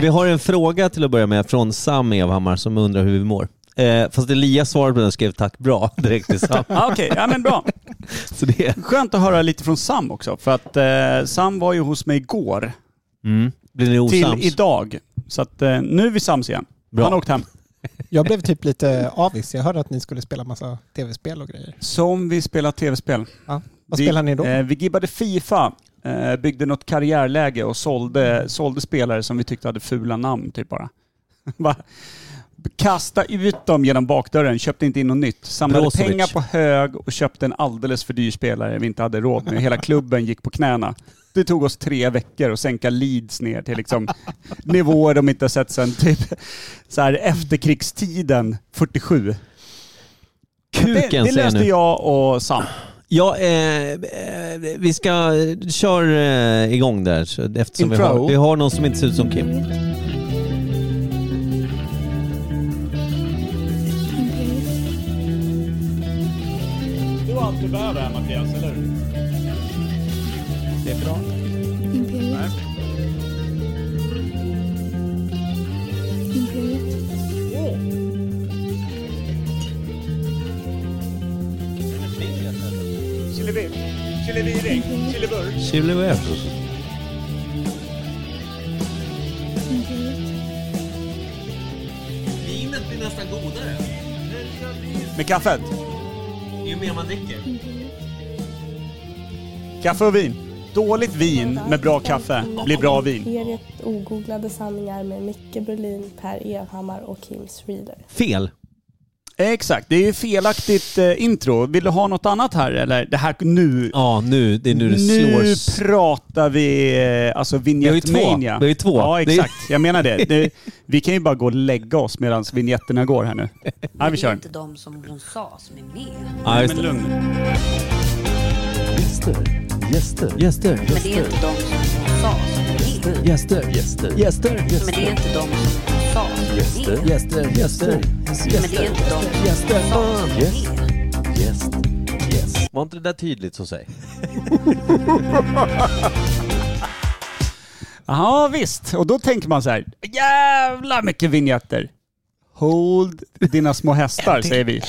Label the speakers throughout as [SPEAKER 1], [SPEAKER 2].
[SPEAKER 1] Vi har en fråga till att börja med från Sam Evhammar som undrar hur vi mår. Eh, fast Elias svarade på den och skrev tack bra direkt till Sam.
[SPEAKER 2] Ja, Okej, ja men bra.
[SPEAKER 1] Så det,
[SPEAKER 2] Skönt att höra lite från Sam också. För att eh, Sam var ju hos mig igår
[SPEAKER 1] mm. Blir ni
[SPEAKER 2] till
[SPEAKER 1] osams?
[SPEAKER 2] idag. Så att eh, nu är vi sams igen.
[SPEAKER 1] Bra.
[SPEAKER 2] Han har åkt hem.
[SPEAKER 3] Jag blev typ lite avis. Jag hörde att ni skulle spela massa tv-spel och grejer.
[SPEAKER 2] Som vi spelar tv-spel.
[SPEAKER 3] Vad
[SPEAKER 2] Vi-
[SPEAKER 3] spelar ni då?
[SPEAKER 2] Eh, vi gibbade Fifa, eh, byggde något karriärläge och sålde, sålde spelare som vi tyckte hade fula namn typ bara. bara. Kasta ut dem genom bakdörren, köpte inte in något nytt. Samlade
[SPEAKER 1] Brozovic.
[SPEAKER 2] pengar på hög och köpte en alldeles för dyr spelare vi inte hade råd med. Hela klubben gick på knäna. Det tog oss tre veckor att sänka Leeds ner till liksom nivåer de inte har sett sedan typ så här efterkrigstiden 47. Det,
[SPEAKER 1] Kuken
[SPEAKER 2] det
[SPEAKER 1] säger jag
[SPEAKER 2] löste
[SPEAKER 1] nu.
[SPEAKER 2] jag och Sam.
[SPEAKER 1] Ja, eh, eh, vi ska köra eh, igång där så- eftersom vi
[SPEAKER 2] Intro.
[SPEAKER 1] har, vi har någon som inte ser ut som Kim.
[SPEAKER 2] Du har allt du behöver här Mattias, eller hur? Det är bra.
[SPEAKER 4] Imperiet. Imperiet.
[SPEAKER 2] Chilivir. Chiliviring. Chilibur.
[SPEAKER 1] Chile
[SPEAKER 4] Imperiet.
[SPEAKER 1] Vinet blir nästan godare
[SPEAKER 2] Med kaffet.
[SPEAKER 1] ju mer man dricker.
[SPEAKER 4] Imperiet.
[SPEAKER 2] Kaffe och vin. Dåligt vin med bra kaffe blir bra vin.
[SPEAKER 5] Imperiet ogooglade sanningar med Micke Berlin, Per Evhammar och Kim Reader.
[SPEAKER 1] Fel.
[SPEAKER 2] Exakt, det är ju felaktigt eh, intro. Vill du ha något annat här eller? Det här nu...
[SPEAKER 1] Ja, nu, det är nu det
[SPEAKER 2] Nu
[SPEAKER 1] slår.
[SPEAKER 2] pratar vi eh, alltså
[SPEAKER 1] två.
[SPEAKER 2] Vinjettmania.
[SPEAKER 1] Vi har ju två.
[SPEAKER 2] Ja,
[SPEAKER 1] Det är-
[SPEAKER 2] exakt. Jag menar det. det. Vi kan ju bara gå och lägga oss medan vinjetterna går här nu. Ja, vi
[SPEAKER 6] Det är
[SPEAKER 2] kör.
[SPEAKER 6] inte de som hon sa som är med.
[SPEAKER 1] Ja, just
[SPEAKER 2] Men
[SPEAKER 1] det.
[SPEAKER 2] lugn.
[SPEAKER 7] Gäster, gäster,
[SPEAKER 1] Gäster,
[SPEAKER 6] Men det är inte de som hon sa som är med.
[SPEAKER 1] gäster,
[SPEAKER 7] gäster,
[SPEAKER 1] gäster,
[SPEAKER 6] Men det är inte de som hon sa som är
[SPEAKER 7] Gäster.
[SPEAKER 6] med.
[SPEAKER 1] gäster, gäster,
[SPEAKER 6] Men det är inte de som hon sa som är med.
[SPEAKER 7] gäst, gäst.
[SPEAKER 1] Var inte det där tydligt så säg?
[SPEAKER 2] Ja visst, och då tänker man så här, jävla mycket vignetter. Hold dina små hästar säger vi.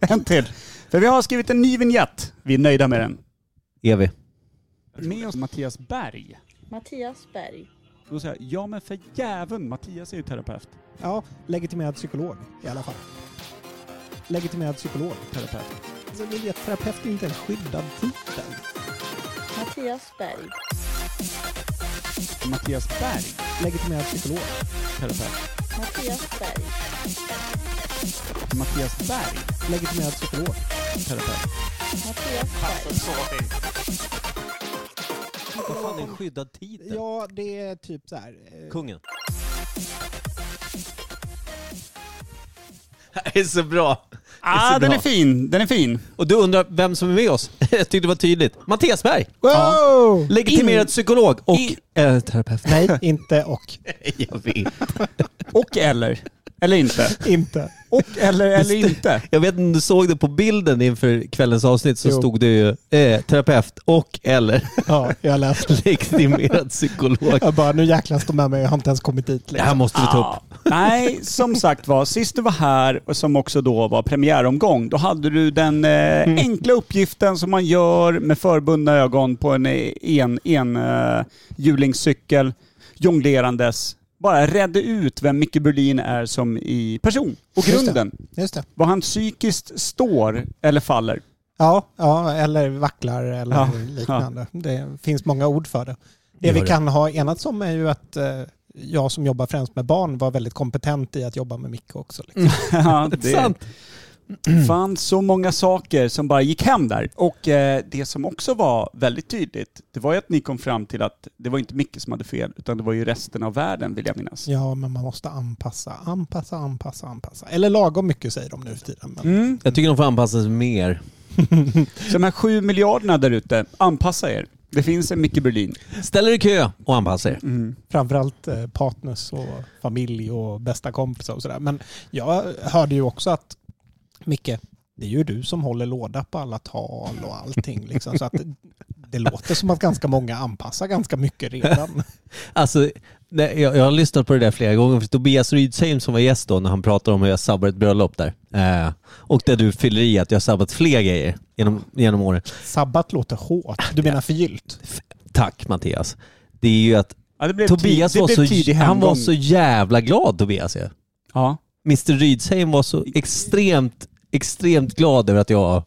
[SPEAKER 2] En till. För vi har skrivit en ny vignett. Vi är nöjda med den.
[SPEAKER 1] Evi.
[SPEAKER 2] Med oss Mattias Berg.
[SPEAKER 5] Mattias Berg.
[SPEAKER 2] Då säger jag, ja men för jäveln, Mattias är ju terapeut.
[SPEAKER 3] Ja, legitimerad psykolog i alla fall. Legitimerad psykolog, terapeut. Alltså, vi vet, terapeut är inte en skyddad titel.
[SPEAKER 5] Mattias Berg.
[SPEAKER 2] Mattias Berg,
[SPEAKER 3] Legitimerad psykolog.
[SPEAKER 2] terapeut.
[SPEAKER 5] Mattias Berg.
[SPEAKER 2] Mattias Berg,
[SPEAKER 3] Legitimerad psykolog.
[SPEAKER 2] terapeut.
[SPEAKER 5] Mattias Berg.
[SPEAKER 1] Vad fan är en skyddad titel?
[SPEAKER 3] Ja, det är typ så här. eh,
[SPEAKER 1] Kungen. Det är så bra.
[SPEAKER 2] Ah, den är fin, den är fin.
[SPEAKER 1] Och du undrar vem som är med oss? Jag tyckte det var tydligt. Mattias Berg,
[SPEAKER 3] Wow!
[SPEAKER 1] legitimerad psykolog och
[SPEAKER 2] in-
[SPEAKER 1] eh, terapeut.
[SPEAKER 3] Nej, inte och.
[SPEAKER 1] Jag vet.
[SPEAKER 2] Och eller. Eller inte.
[SPEAKER 3] Inte.
[SPEAKER 2] Och eller eller inte.
[SPEAKER 1] Jag vet inte om du såg det på bilden inför kvällens avsnitt så
[SPEAKER 3] Jo.
[SPEAKER 1] stod det ju eh, terapeut och eller
[SPEAKER 3] Ja, jag läste.
[SPEAKER 1] legitimerad psykolog. Ah.
[SPEAKER 3] Jag bara, nu jäklas de med mig. Jag har inte ens kommit dit.
[SPEAKER 1] Det här
[SPEAKER 3] Liksom.
[SPEAKER 1] måste vi ta upp.
[SPEAKER 2] Nej, som sagt var, sist du var här, och som också då var premiäromgång, då hade du den eh,
[SPEAKER 3] Mm.
[SPEAKER 2] enkla uppgiften som man gör med förbundna ögon på en eh, en, en, eh, hjulingscykel, jonglerandes. Bara redde ut vem Micke Berlin är som i person och
[SPEAKER 3] Just det.
[SPEAKER 2] grunden.
[SPEAKER 3] Just det.
[SPEAKER 2] Vad han psykiskt står eller faller.
[SPEAKER 3] Ja, ja, eller vacklar eller
[SPEAKER 2] Ja,
[SPEAKER 3] liknande. Det finns många ord för det. Det
[SPEAKER 1] Gör
[SPEAKER 3] vi
[SPEAKER 1] det.
[SPEAKER 3] kan ha enats om är ju att eh, jag som jobbar främst med barn var väldigt kompetent i att jobba med Micke också. Liksom.
[SPEAKER 2] Ja, det-
[SPEAKER 1] Sant.
[SPEAKER 2] fanns så många saker som bara gick hem där. Och eh, det som också var väldigt tydligt, det var ju att ni kom fram till att det var inte Micke som hade fel, utan det var ju resten av världen vill jag minnas.
[SPEAKER 3] Ja, men man måste anpassa, anpassa, anpassa, anpassa. Eller lagom mycket säger de nu för tiden. Men
[SPEAKER 2] Mm.
[SPEAKER 1] Jag tycker de får anpassa sig mer.
[SPEAKER 2] Så de här sju miljarderna där ute, anpassa er. Det finns en Micke Berlin.
[SPEAKER 1] Ställ er i kö och anpassa er.
[SPEAKER 3] framförallt eh, partners och familj och bästa kompisar och sådär. Men jag hörde ju också att Micke, det är ju du som håller låda på alla tal och allting. Liksom, så att Det låter som att ganska många anpassar ganska mycket redan.
[SPEAKER 1] Alltså, nej, jag, jag har lyssnat på det där flera gånger. För Tobias Rydsheim som var gäst då när han pratade om hur jag sabbar ett bröllop där. Eh, och där du fyller i att jag har sabbat fler grejer genom, genom åren.
[SPEAKER 3] Sabbat låter hårt. Du menar förgyllt?
[SPEAKER 1] Tack Mattias. Det är ju att
[SPEAKER 2] Ja, det blev
[SPEAKER 1] Tobias
[SPEAKER 2] tid- det
[SPEAKER 1] var,
[SPEAKER 2] blev
[SPEAKER 1] så,
[SPEAKER 2] tidig
[SPEAKER 1] han var
[SPEAKER 2] hemgång.
[SPEAKER 1] så jävla glad Tobias. Ja.
[SPEAKER 2] Ja.
[SPEAKER 1] Mr Rydsheim var så extremt, extremt glad över att jag var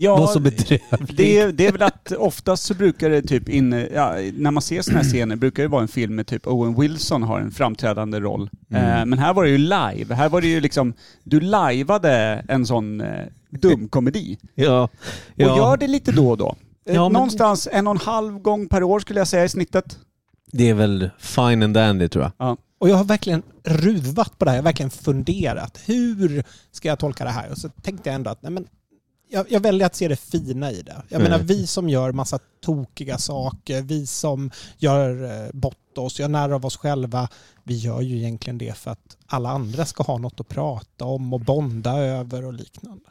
[SPEAKER 2] Ja,
[SPEAKER 1] så bedrövlig.
[SPEAKER 2] det, är- det är väl att oftast så brukar det typ in, ja, när man ser sådana här scener brukar det vara en film med typ Owen Wilson har en framträdande roll.
[SPEAKER 1] Mm.
[SPEAKER 2] Eh, men här var det ju live. Här var det ju liksom, du lajvade en sån eh, dumkomedi.
[SPEAKER 1] Ja,
[SPEAKER 2] Och
[SPEAKER 1] ja.
[SPEAKER 2] gör det lite då och då. Eh,
[SPEAKER 1] Ja, men-
[SPEAKER 2] Någonstans en och en halv gång per år skulle jag säga i snittet.
[SPEAKER 1] det är väl fine and dandy tror jag.
[SPEAKER 3] Och jag har verkligen ruvat på det här. Jag har verkligen funderat. Hur ska jag tolka det här? Och så tänkte jag ändå att nej men, jag, jag väljer att se det fina i det. Jag
[SPEAKER 1] Mm.
[SPEAKER 3] menar vi som gör massa tokiga saker, vi som gör eh, bort oss, gör narr av oss själva. Vi gör ju egentligen det för att alla andra ska ha något att prata om och bonda över och liknande.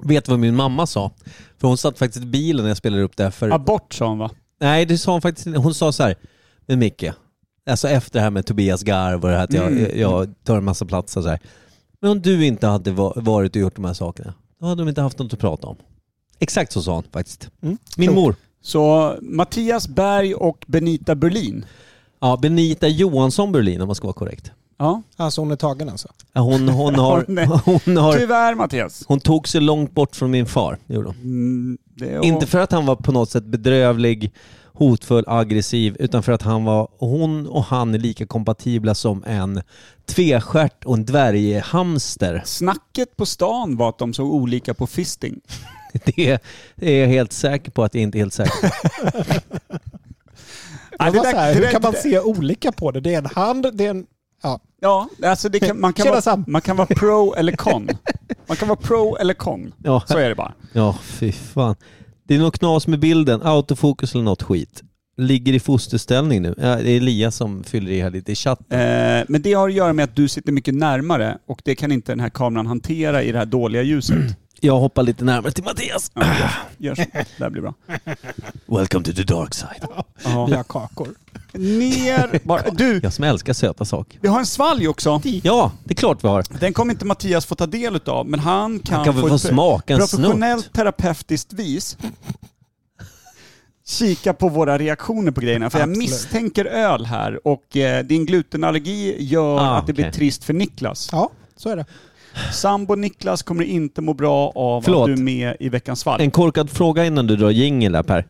[SPEAKER 1] Vet du vad min mamma sa? För hon satt faktiskt i bilen när jag spelade upp det här. För...
[SPEAKER 2] Abort sa hon va?
[SPEAKER 1] Nej, det sa hon faktiskt inte. Hon sa så här, men Micke, alltså efter det här med Tobias Garv och det här att jag,
[SPEAKER 2] Mm.
[SPEAKER 1] jag tar en massa plats och så här. Men om du inte hade va- varit och gjort de här sakerna, då hade de inte haft något att prata om. Exakt så sa hon faktiskt.
[SPEAKER 3] Mm.
[SPEAKER 1] Min mor.
[SPEAKER 2] Så Mattias Berg och Benita Berlin.
[SPEAKER 1] Ja, Benita Johansson Berlin om man ska vara korrekt.
[SPEAKER 2] Ja.
[SPEAKER 3] Alltså hon är tagen alltså.
[SPEAKER 1] Ja, Hon, hon, har,
[SPEAKER 2] nej.
[SPEAKER 1] hon, har,
[SPEAKER 2] Tyvärr Mattias.
[SPEAKER 1] hon tog sig långt bort från min far. Gjorde hon.
[SPEAKER 2] Mm, det, och,
[SPEAKER 1] Inte för att han var på något sätt bedrövlig, hotfull, aggressiv, utan för att han var, hon och han är lika kompatibla som en tvestjärt och en dvärghamster.
[SPEAKER 2] Snacket på stan var att de såg olika på fisting.
[SPEAKER 1] Det är jag helt säker på att jag inte är helt säker på.
[SPEAKER 2] Ja,
[SPEAKER 3] Jag
[SPEAKER 2] det
[SPEAKER 3] var
[SPEAKER 2] där-
[SPEAKER 3] så här,
[SPEAKER 2] det
[SPEAKER 3] hur
[SPEAKER 2] där-
[SPEAKER 3] kan man se olika på det? Det är en hand, det är en... Ja.
[SPEAKER 2] Ja, alltså det kan, man, kan
[SPEAKER 3] Tjena,
[SPEAKER 2] vara,
[SPEAKER 3] Sam.
[SPEAKER 2] man kan vara pro eller con. Man kan vara pro eller con.
[SPEAKER 1] Ja,
[SPEAKER 2] Så är det bara.
[SPEAKER 1] ja fy fan. Det är något knas med bilden, autofokus eller något skit. Ligger i fosterställning nu. Ja, det är Elias som fyller i här lite i chatten.
[SPEAKER 2] Eh, men det har att göra med att du sitter mycket närmare och det kan inte den här kameran hantera i det här dåliga
[SPEAKER 1] Mm.
[SPEAKER 2] ljuset.
[SPEAKER 1] Jag hoppar lite närmare till Mattias.
[SPEAKER 2] Ja, gör, gör så. Det här blir bra.
[SPEAKER 1] Welcome to the dark side.
[SPEAKER 3] Vi
[SPEAKER 2] Ja.
[SPEAKER 3] har kakor.
[SPEAKER 2] Ner bara. Du,
[SPEAKER 1] Jag som älskar söta saker.
[SPEAKER 2] vi har en svalg också.
[SPEAKER 1] Ja, det är klart vi har.
[SPEAKER 2] Den kommer inte Mattias få ta del av, men han kan,
[SPEAKER 1] Han kan väl
[SPEAKER 2] på
[SPEAKER 1] få
[SPEAKER 2] ett
[SPEAKER 1] smaka en
[SPEAKER 2] professionellt
[SPEAKER 1] snutt.
[SPEAKER 2] terapeutiskt vis kika på våra reaktioner på grejerna. För jag
[SPEAKER 3] Absolut.
[SPEAKER 2] misstänker öl här och eh, din glutenallergi gör
[SPEAKER 1] Ah,
[SPEAKER 2] att det blir
[SPEAKER 1] okej.
[SPEAKER 2] trist för Niklas.
[SPEAKER 3] Ja, så är det.
[SPEAKER 2] Sambo Niklas kommer inte må bra av
[SPEAKER 1] Förlåt.
[SPEAKER 2] att du är med i veckans fall.
[SPEAKER 1] En korkad fråga innan du drar jingel här Per.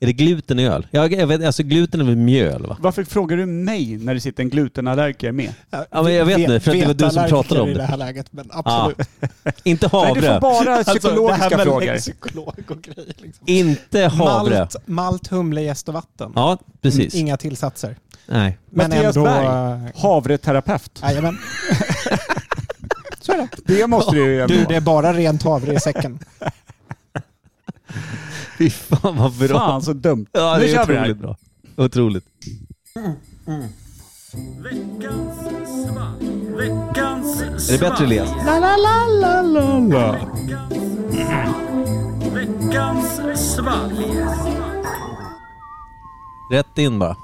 [SPEAKER 1] Är det gluten i öl? Jag, jag vet, alltså gluten är väl mjöl va?
[SPEAKER 2] Varför frågar du mig när det sitter en glutenallergiker med?
[SPEAKER 1] Ja, men jag vet nu, för att det var du som pratade om
[SPEAKER 3] i
[SPEAKER 1] det.
[SPEAKER 3] det här läget, men absolut. Alltså,
[SPEAKER 1] Inte
[SPEAKER 2] Nej, du får
[SPEAKER 1] havre.
[SPEAKER 2] bara psykologiska
[SPEAKER 3] det här med
[SPEAKER 2] frågor.
[SPEAKER 3] Psykolog och grejer. Liksom.
[SPEAKER 1] Inte havre.
[SPEAKER 3] Malt, Mm, malt, humle, jäst och vatten.
[SPEAKER 1] Ja, precis.
[SPEAKER 3] Inga tillsatser.
[SPEAKER 1] Nej.
[SPEAKER 3] Men
[SPEAKER 2] Mattias
[SPEAKER 3] ändå...
[SPEAKER 2] Berg. Havreterapeut.
[SPEAKER 3] Jajamän. Så är det.
[SPEAKER 2] Det måste du ju ändå
[SPEAKER 3] Du, det är bara rent havre i säcken.
[SPEAKER 1] Fy fan vad bra.
[SPEAKER 2] Fan så dumt.
[SPEAKER 1] Ja,
[SPEAKER 2] nu
[SPEAKER 1] det är
[SPEAKER 2] kör vi det här.
[SPEAKER 1] otroligt bra. Otroligt. Är det bättre Elias? Rätt in bara.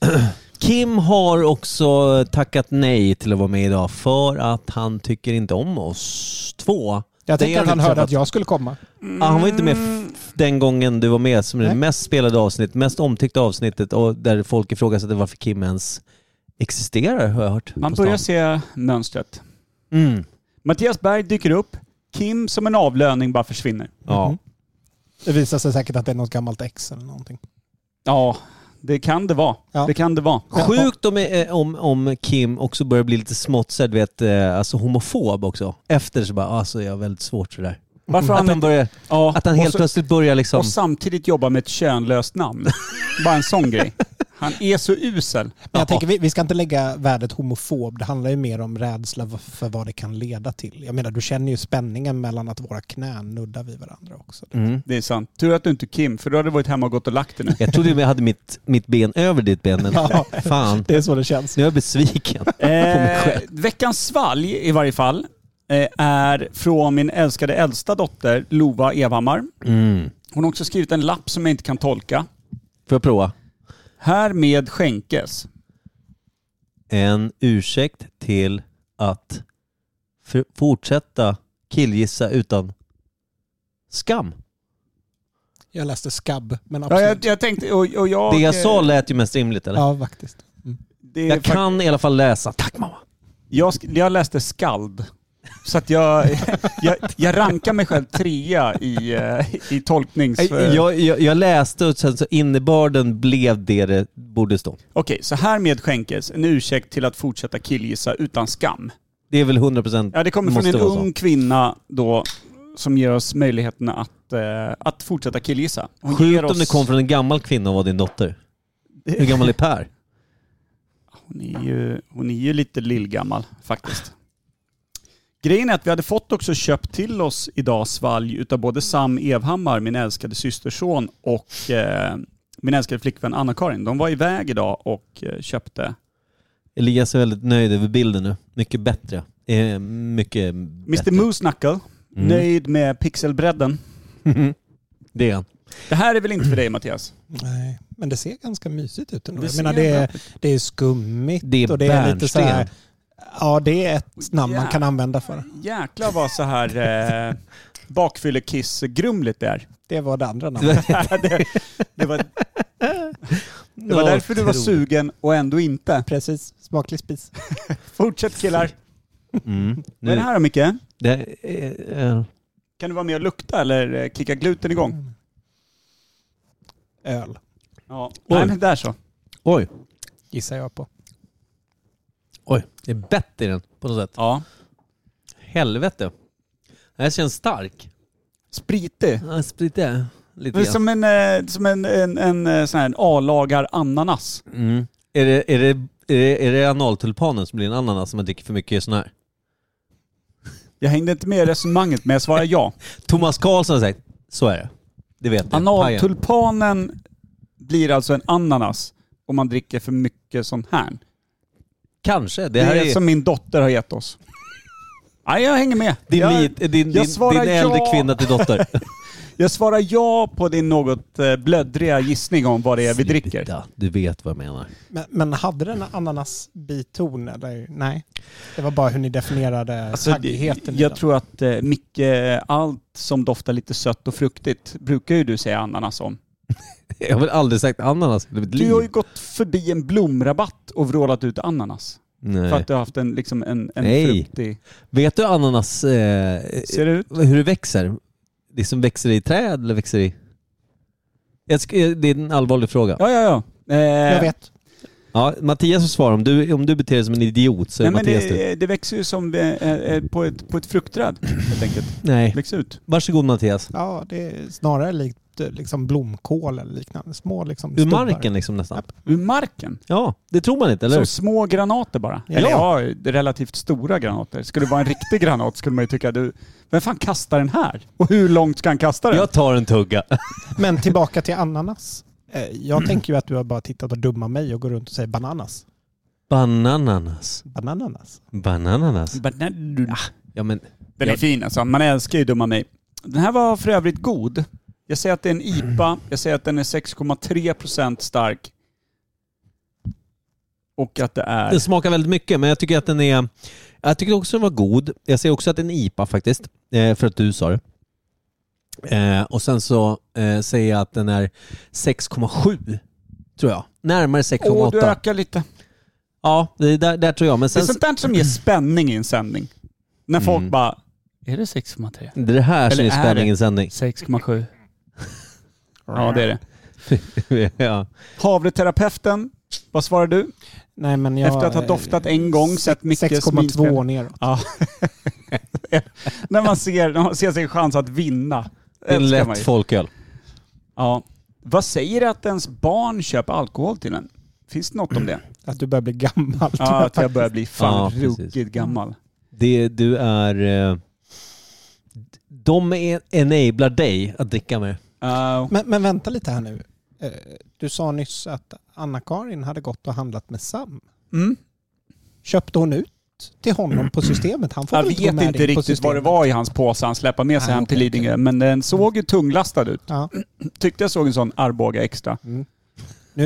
[SPEAKER 1] Kim har också tackat nej till att vara med idag för att han tycker inte om oss två.
[SPEAKER 3] Jag
[SPEAKER 1] Det
[SPEAKER 3] tänkte
[SPEAKER 1] har
[SPEAKER 3] att han
[SPEAKER 1] vi
[SPEAKER 3] hörde
[SPEAKER 1] träffat.
[SPEAKER 3] att jag skulle komma.
[SPEAKER 1] Ja, Ah, han var inte med f- den gången du var med som det
[SPEAKER 3] Nej.
[SPEAKER 1] mest spelade avsnitt, mest omtyckta avsnittet och där folk ifrågasatte varför Kim ens existerar har jag hört.
[SPEAKER 2] Man
[SPEAKER 1] på
[SPEAKER 2] börjar
[SPEAKER 1] stan.
[SPEAKER 2] se mönstret.
[SPEAKER 1] Mm.
[SPEAKER 2] Mattias Berg dyker upp. Kim som en avlöning bara försvinner.
[SPEAKER 1] Ja.
[SPEAKER 3] Mhm. Det visar sig säkert att det är något gammalt ex eller någonting.
[SPEAKER 2] Ja, det kan det vara.
[SPEAKER 3] Ja.
[SPEAKER 2] Det kan det vara.
[SPEAKER 1] Sjukt om, eh, om, om Kim också börjar bli lite smått så här, du vet, eh, alltså homofob också. Efter så bara, alltså jag har väldigt svårt för det där.
[SPEAKER 2] Varför
[SPEAKER 1] Att han,
[SPEAKER 2] han,
[SPEAKER 1] börjar,
[SPEAKER 2] ja,
[SPEAKER 1] att han helt
[SPEAKER 2] och, så,
[SPEAKER 1] plötsligt börjar liksom...
[SPEAKER 2] och samtidigt jobbar med ett könlöst namn. bara en sån grej. Han är så usel.
[SPEAKER 3] Men jag
[SPEAKER 1] Ja.
[SPEAKER 3] tänker, vi, vi ska inte lägga värdet homofob. Det handlar ju mer om rädsla v- för vad det kan leda till. Jag menar, du känner ju spänningen mellan att våra knän nuddar vid varandra också.
[SPEAKER 1] Mm.
[SPEAKER 2] Det är sant. Tur att du inte är Kim, för då hade du varit hemma och gått och lagt dig nu.
[SPEAKER 1] Jag trodde jag hade mitt, mitt ben över ditt ben, men
[SPEAKER 3] Ja.
[SPEAKER 1] fan.
[SPEAKER 3] Det är så det känns.
[SPEAKER 1] Nu är jag besviken.
[SPEAKER 2] Eh, veckans svalg i varje fall eh, är från min älskade äldsta dotter Lova Evhammar.
[SPEAKER 1] Mm.
[SPEAKER 2] Hon har också skrivit en lapp som jag inte kan tolka.
[SPEAKER 1] Får jag prova?
[SPEAKER 2] Härmed skänkes.
[SPEAKER 1] En ursäkt till att för- fortsätta killgissa utan skam.
[SPEAKER 3] Jag läste skabb, men
[SPEAKER 2] Ja,
[SPEAKER 3] absolut.
[SPEAKER 2] jag, jag tänkte, och, och jag...
[SPEAKER 1] Det jag sa lät ju mest rimligt eller?
[SPEAKER 3] Ja, faktiskt.
[SPEAKER 2] det är
[SPEAKER 1] Jag
[SPEAKER 2] fakt-
[SPEAKER 1] kan i alla fall läsa. Tack mamma!
[SPEAKER 2] Jag, sk- jag läste skald. Så att jag, jag, jag rankar mig själv trea i, eh, i tolknings...
[SPEAKER 1] Jag, jag, jag läste och sen så innebörden blev det det borde stå.
[SPEAKER 2] Okej, så härmed skänkes en ursäkt till att fortsätta killgissa utan skam.
[SPEAKER 1] Det är väl 100%
[SPEAKER 2] Ja, det kommer från
[SPEAKER 1] måste
[SPEAKER 2] en
[SPEAKER 1] vara så.
[SPEAKER 2] ung kvinna då som ger oss möjligheten att, eh, att fortsätta killgissa. Hon ger
[SPEAKER 1] Sjukt
[SPEAKER 2] oss...
[SPEAKER 1] om det kom från en gammal kvinna och var din dotter. Hur gammal är Per?
[SPEAKER 2] Hon är ju, hon är ju lite lillgammal faktiskt. Grejen är att vi hade fått också köpt till oss idag svalg utav både Sam Evhammar, min älskade systerson, och eh, min älskade flickvän Anna-Karin. De var iväg idag och eh, köpte
[SPEAKER 1] Elias är väldigt nöjd över bilden nu. Mycket bättre. Eh, mycket
[SPEAKER 2] Mr
[SPEAKER 1] bättre.
[SPEAKER 2] Moose Knuckle,
[SPEAKER 1] Mm.
[SPEAKER 2] nöjd med pixelbredden.
[SPEAKER 1] Det är han.
[SPEAKER 2] Det här är väl inte för dig Mattias?
[SPEAKER 3] Nej, men det ser ganska mysigt ut ändå.
[SPEAKER 2] Det
[SPEAKER 3] jag
[SPEAKER 2] ser
[SPEAKER 3] menar det
[SPEAKER 2] bra
[SPEAKER 3] är, det är skummigt
[SPEAKER 1] Det är
[SPEAKER 3] och det är lite så här,
[SPEAKER 1] bärnsten.
[SPEAKER 3] Ja, det är ett namn
[SPEAKER 2] Yeah.
[SPEAKER 3] man kan använda för det.
[SPEAKER 2] Jäklar vad så här eh, bakfyllekiss-grumligt det är.
[SPEAKER 3] Det var det andra
[SPEAKER 2] Mm.
[SPEAKER 3] namnet.
[SPEAKER 2] det, det, var, det var
[SPEAKER 1] Ja,
[SPEAKER 2] därför du var
[SPEAKER 1] otroligt.
[SPEAKER 2] sugen och ändå inte.
[SPEAKER 3] Precis, smaklig spis.
[SPEAKER 2] Fortsätt killar.
[SPEAKER 1] Mm.
[SPEAKER 2] Vad
[SPEAKER 1] Nu,
[SPEAKER 2] är det här då Micke?
[SPEAKER 1] det här är, eh, är,
[SPEAKER 2] Kan du vara med och lukta eller eh, kicka gluten igång?
[SPEAKER 3] Öl,
[SPEAKER 2] Ja.
[SPEAKER 1] Oj.
[SPEAKER 2] Nej, men där så.
[SPEAKER 1] oj,
[SPEAKER 3] gissar jag på.
[SPEAKER 1] oj. Det är bett i den på något sätt.
[SPEAKER 2] Ja.
[SPEAKER 1] Helvete. Den här känns stark.
[SPEAKER 2] Spritig.
[SPEAKER 1] Ja, Spritig. Lite
[SPEAKER 2] Det är
[SPEAKER 1] grann.
[SPEAKER 2] som en, eh, som en, en, en eh, sån här A-lagar ananas.
[SPEAKER 1] Mm. Är, det, är, det, är, det, är det analtulpanen som blir en ananas om man dricker för mycket sån här?
[SPEAKER 2] Jag hängde inte med i resonemanget men jag svarar ja.
[SPEAKER 1] Thomas Karlsson har sagt, så är det. Det vet jag. Pajen.
[SPEAKER 2] Analtulpanen blir alltså en ananas om man dricker för mycket sån här.
[SPEAKER 1] Kanske.
[SPEAKER 2] Det,
[SPEAKER 1] Det här
[SPEAKER 2] är,
[SPEAKER 1] är,
[SPEAKER 2] som min dotter har gett oss. Nej, jag hänger med.
[SPEAKER 1] din,
[SPEAKER 2] jag,
[SPEAKER 1] lit- din, din, din,
[SPEAKER 2] svarar
[SPEAKER 1] äldre
[SPEAKER 2] ja.
[SPEAKER 1] kvinna till dotter.
[SPEAKER 2] jag svarar ja på din något eh, blöddriga gissning om vad det är vi dricker.
[SPEAKER 1] Sluta, Du vet vad jag menar.
[SPEAKER 3] Men, men hade den ananasbiton eller nej? Det var bara hur ni definierade
[SPEAKER 2] Alltså,
[SPEAKER 3] taggigheten. i
[SPEAKER 2] jag
[SPEAKER 3] den.
[SPEAKER 2] tror att eh, Micke, allt som doftar lite sött och fruktigt brukar ju du säga ananas om.
[SPEAKER 1] Jag har väl aldrig sagt ananas i mitt liv.
[SPEAKER 2] Du har ju gått förbi en blomrabatt och vrålat ut ananas.
[SPEAKER 1] Nej.
[SPEAKER 2] För att du har haft en, liksom en, en
[SPEAKER 1] Nej.
[SPEAKER 2] fruktig...
[SPEAKER 1] Vet du ananas, eh,
[SPEAKER 2] Ser det ut?
[SPEAKER 1] hur det växer? Det som växer i träd eller växer i... Jag sk- eh, det är en allvarlig fråga. Ja.
[SPEAKER 2] Ja, ja, ja. Eh,
[SPEAKER 3] jag vet.
[SPEAKER 1] Mattias får svara. Om du, om du beter dig som en idiot så är
[SPEAKER 2] Nej,
[SPEAKER 1] det
[SPEAKER 2] men
[SPEAKER 1] Mattias du.
[SPEAKER 2] det, det växer ju som eh, eh, på, ett, på ett fruktträd helt enkelt.
[SPEAKER 1] Nej.
[SPEAKER 2] Växer ut.
[SPEAKER 1] Varsågod Mattias.
[SPEAKER 3] Ja, det är snarare likt eh, liksom blomkål eller liknande. Små liksom
[SPEAKER 1] Ur
[SPEAKER 3] stubbar.
[SPEAKER 1] marken liksom nästan.
[SPEAKER 2] Ur marken.
[SPEAKER 1] Ja, det tror man inte, eller
[SPEAKER 2] Som
[SPEAKER 1] hur?
[SPEAKER 2] små granater bara.
[SPEAKER 3] Ja.
[SPEAKER 2] Eller ja, relativt stora granater. Skulle det vara en riktig granat skulle man ju tycka, du, vem fan kastar den här? Och hur långt ska han kasta den?
[SPEAKER 1] Jag tar en tugga.
[SPEAKER 3] Men tillbaka till ananas. Eh, Jag tänker ju att du har bara tittat och dumma mig och går runt och säger bananas.
[SPEAKER 1] Banananas.
[SPEAKER 3] Bananas.
[SPEAKER 1] Bananas.
[SPEAKER 2] Banan-
[SPEAKER 1] Ja men,
[SPEAKER 2] Den är fin alltså. Man älskar ju Dumma mig. Den här var för övrigt god. Jag säger att det är en
[SPEAKER 1] Mm.
[SPEAKER 2] IPA. Jag säger att den är 6,3% stark. Och att det är...
[SPEAKER 1] den smakar väldigt mycket men jag tycker att den är... Jag tycker också den var god. Jag ser också att den är en IPA faktiskt. eh, För att du sa det. Eh, Och sen så eh, säger jag att den är 6,7. Tror jag. Närmare
[SPEAKER 2] Åh, du
[SPEAKER 1] 6,8.
[SPEAKER 2] ökar lite.
[SPEAKER 1] Ja, det är där, där tror jag. Men
[SPEAKER 2] Det är
[SPEAKER 1] sen...
[SPEAKER 2] sånt där som ger spänning i en sändning. När folk
[SPEAKER 1] Mm.
[SPEAKER 2] bara... Är det 6,3?
[SPEAKER 1] Det är det här som
[SPEAKER 2] Eller
[SPEAKER 1] är
[SPEAKER 2] är
[SPEAKER 1] spänning
[SPEAKER 2] det?
[SPEAKER 1] i sändning.
[SPEAKER 2] 6,7? Ja, det är det.
[SPEAKER 1] ja.
[SPEAKER 2] Havreterapeuten, vad svarar du?
[SPEAKER 3] Nej, men jag,
[SPEAKER 2] Efter att
[SPEAKER 1] eh,
[SPEAKER 2] ha doftat en gång, sett Mickes
[SPEAKER 3] 6,2
[SPEAKER 2] minspel.
[SPEAKER 3] neråt.
[SPEAKER 2] Ja. när, man ser, när man ser sin chans att vinna.
[SPEAKER 1] Det är en
[SPEAKER 2] älskar man ju.
[SPEAKER 1] lätt folköl.
[SPEAKER 2] Ja. Vad säger det att ens barn köper alkohol till en? Finns det något om det?
[SPEAKER 3] Att du börjar bli gammal.
[SPEAKER 2] Ja, att jag börjar bli fan
[SPEAKER 1] Ja, precis.
[SPEAKER 2] ruggigt gammal.
[SPEAKER 1] Det, du är... eh, De är, enablar dig att dricka med.
[SPEAKER 2] Ja,
[SPEAKER 3] Men, men vänta lite här nu. Eh, Du sa nyss att Anna-Karin hade gått och handlat med Sam.
[SPEAKER 2] mm.
[SPEAKER 3] Köpte hon ut ut till honom på systemet. Han får
[SPEAKER 2] Jag
[SPEAKER 3] väl inte gå
[SPEAKER 2] vet
[SPEAKER 3] med
[SPEAKER 2] inte
[SPEAKER 3] in på
[SPEAKER 2] riktigt vad det
[SPEAKER 3] systemet.
[SPEAKER 2] var i hans påse han släppte med sig
[SPEAKER 3] Ah,
[SPEAKER 2] hem till
[SPEAKER 3] okej,
[SPEAKER 2] Lidingö, men den såg ju tunglastad ut.
[SPEAKER 3] Ja.
[SPEAKER 2] Tyckte jag såg en sån Arboga extra.
[SPEAKER 3] Mm.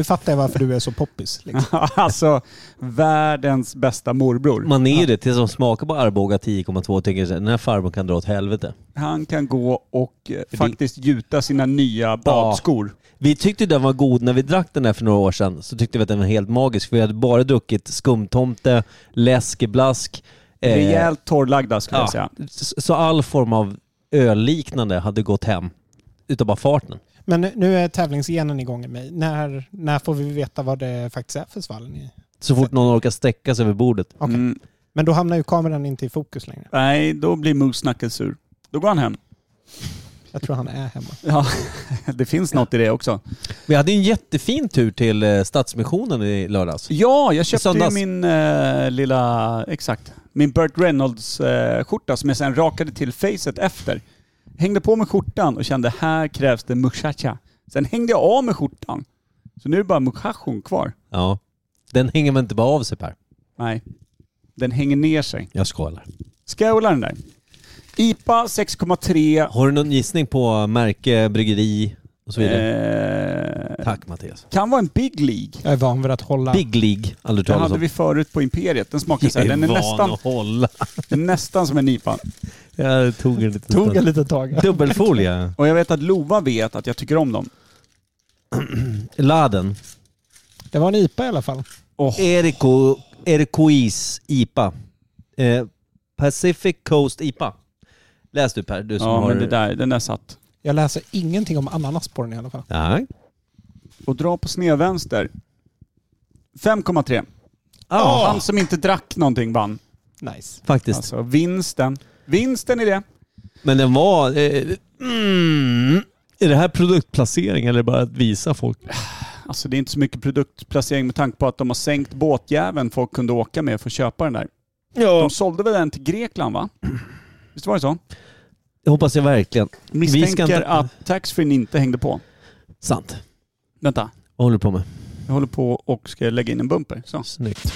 [SPEAKER 3] Nu fattar jag varför du är så poppis. Liksom.
[SPEAKER 2] alltså, världens bästa morbror.
[SPEAKER 1] Man är ju det tills de smakar på Arboga 10,2 och tänker så här, den här farbrorn kan dra åt helvete.
[SPEAKER 2] Han kan gå och eh, faktiskt gjuta sina nya badskor.
[SPEAKER 1] Vi tyckte den var god när vi drack den här för några år sedan. Så tyckte vi att den var helt magisk. För vi hade bara druckit skumtomte, läskeblask. eh,
[SPEAKER 2] Rejält torrlagda skulle jag säga.
[SPEAKER 1] ja. S- Så all form av ölliknande hade gått hem. Utav bara farten.
[SPEAKER 3] Men nu- nu är tävlingsgenen igång i mig. När, när får vi veta vad det faktiskt är för svall? ni-
[SPEAKER 1] Så fort någon orkar sträcka sig över bordet.
[SPEAKER 3] Okej.
[SPEAKER 2] Mm.
[SPEAKER 3] Men då hamnar ju kameran inte i fokus längre.
[SPEAKER 2] Nej, då blir Moosnacken sur. Då går han hem.
[SPEAKER 3] Jag tror han är hemma.
[SPEAKER 2] Ja, det finns något i det också.
[SPEAKER 1] Vi hade ju en jättefin tur till eh, Stadsmissionen i lördags.
[SPEAKER 2] Ja, jag köpte ju
[SPEAKER 1] söndags.
[SPEAKER 2] min eh, lilla, exakt, min Burt Reynolds eh, skjorta som jag sen rakade till facet efter. Hängde på med skjortan och kände här krävs det muchacha. Sen hängde jag av med skjortan. Så nu är det bara muchachon kvar.
[SPEAKER 1] Ja. Den hänger man inte bara av sig Per.
[SPEAKER 2] Nej, den hänger ner sig.
[SPEAKER 1] Jag skojar.
[SPEAKER 2] Ska jag hålla den där? IPA 6,3.
[SPEAKER 1] Har du någon gissning på märke, bryggeri och så vidare?
[SPEAKER 2] Eh,
[SPEAKER 1] Tack Mattias.
[SPEAKER 2] kan vara en Big League.
[SPEAKER 3] Jag är van vid att hålla...
[SPEAKER 1] Big League, aldrig
[SPEAKER 2] Den
[SPEAKER 1] talas
[SPEAKER 2] hade
[SPEAKER 1] om.
[SPEAKER 2] vi förut på Imperiet. Den smakar så här. Den är
[SPEAKER 1] van
[SPEAKER 2] nästan,
[SPEAKER 1] att hålla.
[SPEAKER 2] nästan som en IPA.
[SPEAKER 1] Jag tog en liten
[SPEAKER 3] Tog ett
[SPEAKER 1] stund.
[SPEAKER 3] litet tag.
[SPEAKER 1] Dubbelfolie.
[SPEAKER 2] Och jag vet att Lova vet att jag tycker om dem.
[SPEAKER 1] Laden.
[SPEAKER 3] Det var en IPA i alla fall.
[SPEAKER 1] Eriko, Erikois IPA. Eh, Pacific Coast IPA. Läs du Per, du som
[SPEAKER 2] Ja,
[SPEAKER 1] har...
[SPEAKER 2] men det där, den där satt.
[SPEAKER 3] Jag läser ingenting om ananas på den i alla fall.
[SPEAKER 1] Nej.
[SPEAKER 2] Och dra på snedvänster. 5,3.
[SPEAKER 1] Ja,
[SPEAKER 2] Han som inte drack någonting vann.
[SPEAKER 3] Nice.
[SPEAKER 1] faktiskt.
[SPEAKER 2] Alltså vinsten. Vinsten i det.
[SPEAKER 1] Men den var... Eh, mm, är det här produktplacering eller bara att visa folk?
[SPEAKER 2] Alltså det är inte så mycket produktplacering med tanke på att de har sänkt båtjäveln folk kunde åka med för att köpa den där. De
[SPEAKER 1] Ja.
[SPEAKER 2] sålde väl den till Grekland va? Visst var det så?
[SPEAKER 1] Det hoppas jag verkligen.
[SPEAKER 2] Misstänker
[SPEAKER 1] inte-
[SPEAKER 2] att taxfree inte hängde på.
[SPEAKER 1] Sant.
[SPEAKER 2] Vänta,
[SPEAKER 1] Vad håller du på med?
[SPEAKER 2] jag håller på och ska lägga in en bumper. Så.
[SPEAKER 1] Snyggt.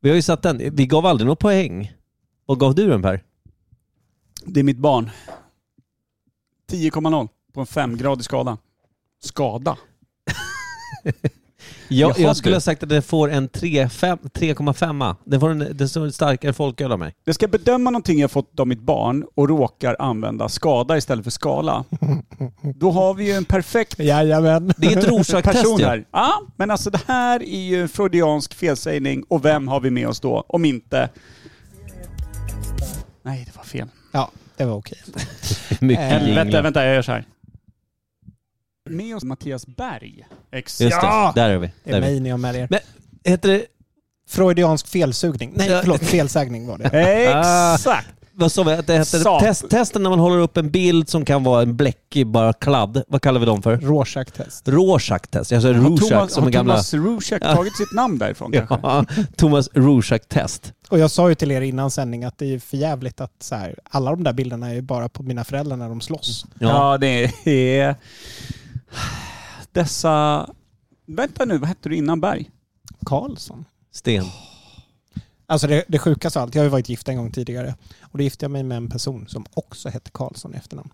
[SPEAKER 1] Vi har ju satt den. Vi gav aldrig något poäng. Vad gav du den Per?
[SPEAKER 2] Det är mitt barn. 10,0 på en femgradig skada. Skada?
[SPEAKER 1] Jag,
[SPEAKER 2] Jaha,
[SPEAKER 1] jag skulle
[SPEAKER 2] du.
[SPEAKER 1] ha sagt att den får en 3, fem- 3,5. Den får en, den står en starkare folköl av mig.
[SPEAKER 2] Jag ska bedöma någonting jag fått av mitt barn och råkar använda skada istället för skala. Då har vi ju en perfekt
[SPEAKER 3] Jajamän.
[SPEAKER 1] Det är ett
[SPEAKER 2] person
[SPEAKER 1] Rorschach-test ja.
[SPEAKER 2] här. Ja, men alltså det här är ju en freudiansk felsägning och vem har vi med oss då? Om inte... Nej, det var fel.
[SPEAKER 3] Ja, det var okej.
[SPEAKER 1] Mycket
[SPEAKER 3] Helvete,
[SPEAKER 2] Vänta,
[SPEAKER 1] jinglar.
[SPEAKER 2] vänta, jag gör så här. Med oss Mattias Berg. Exakt.
[SPEAKER 1] Just det, där är vi.
[SPEAKER 3] Det är
[SPEAKER 1] Där är vi.
[SPEAKER 3] mig ni har med er.
[SPEAKER 1] Men heter det...
[SPEAKER 3] Freudiansk felsugning. Nej,
[SPEAKER 1] Ja.
[SPEAKER 3] förlåt. Felsägning var det.
[SPEAKER 2] Exakt.
[SPEAKER 1] Vad sa vi att det heter?
[SPEAKER 2] Sat.
[SPEAKER 1] Test, testen när man håller upp en bild som kan vara en bläckig bara kladd. Vad kallar vi dem för?
[SPEAKER 3] Rorschach-test.
[SPEAKER 1] Rorschach-test. Jag sa
[SPEAKER 2] Har
[SPEAKER 1] Rorschach
[SPEAKER 2] Thomas,
[SPEAKER 1] som
[SPEAKER 2] har
[SPEAKER 1] en gamla...
[SPEAKER 2] Thomas Rorschach
[SPEAKER 1] Ja.
[SPEAKER 2] tagit sitt namn därifrån kanske?
[SPEAKER 1] Ja, Thomas Rorschach-test.
[SPEAKER 3] Och jag sa ju till er innan sändning att det är ju för jävligt att så här, alla de där bilderna är ju bara på mina föräldrar när de slåss.
[SPEAKER 1] Ja.
[SPEAKER 2] Ja, det är... Dessa... Vänta nu, vad hette du innan Berg?
[SPEAKER 3] Karlsson.
[SPEAKER 1] Sten.
[SPEAKER 3] Alltså det, det sjukaste av allt, jag har ju varit gift en gång tidigare. Och då gifte jag mig med en person som också hette Karlsson i efternamn.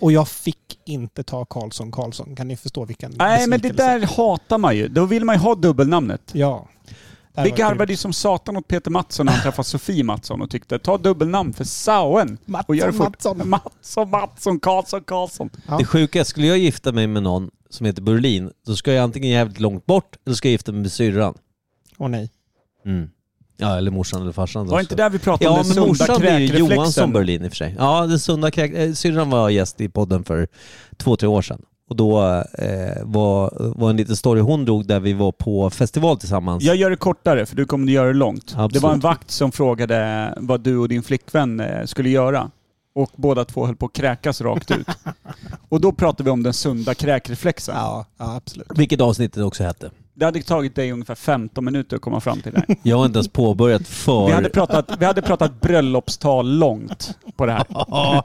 [SPEAKER 3] Och jag fick inte ta Karlsson Karlsson. Kan ni förstå vilken
[SPEAKER 2] Nej, men det
[SPEAKER 3] besvikelse?
[SPEAKER 2] där hatar man ju. Då vill man ju ha dubbelnamnet.
[SPEAKER 3] Ja. Det här
[SPEAKER 2] Vi
[SPEAKER 3] var
[SPEAKER 2] garvade
[SPEAKER 3] grymt.
[SPEAKER 2] ju som satan åt Peter Mattsson när han träffade Sofie Mattsson och tyckte ta dubbelnamn för Sauen. och gör det fort.
[SPEAKER 3] Mattsson.
[SPEAKER 2] Mattsson, Mattsson, Karlsson, Karlsson.
[SPEAKER 3] Ja.
[SPEAKER 1] Det sjuka, är, skulle jag gifta mig med någon som heter Berlin, då ska jag antingen jävligt långt bort eller ska jag gifta mig med syrran.
[SPEAKER 3] Åh nej.
[SPEAKER 1] Mm. Ja, eller morsan eller farsan. då.
[SPEAKER 2] Var det inte där vi pratade om
[SPEAKER 1] Ja,
[SPEAKER 2] den
[SPEAKER 1] men
[SPEAKER 2] sunda
[SPEAKER 1] morsan blir ju Johansson
[SPEAKER 2] kräkreflexen?
[SPEAKER 1] Berlin i och för sig. Ja, den sunda kräk... eh, Syrran var gäst i podden för två, tre år sedan. Och då eh, var, var en liten story hon drog där vi var på festival tillsammans.
[SPEAKER 2] Jag gör det kortare för du kommer att göra det långt. Det
[SPEAKER 1] Absolut.
[SPEAKER 2] var en vakt som frågade vad du och din flickvän eh, skulle göra. Och båda två höll på att kräkas rakt ut. och då pratade vi om den sunda kräkreflexen.
[SPEAKER 3] Ja, ja absolut.
[SPEAKER 1] Vilket avsnittet också hette.
[SPEAKER 2] Det hade tagit dig ungefär 15 minuter att komma fram till det här.
[SPEAKER 1] Jag har inte ens påbörjat för...
[SPEAKER 2] Vi hade pratat, vi hade pratat bröllopstal långt på det här.
[SPEAKER 1] Ja.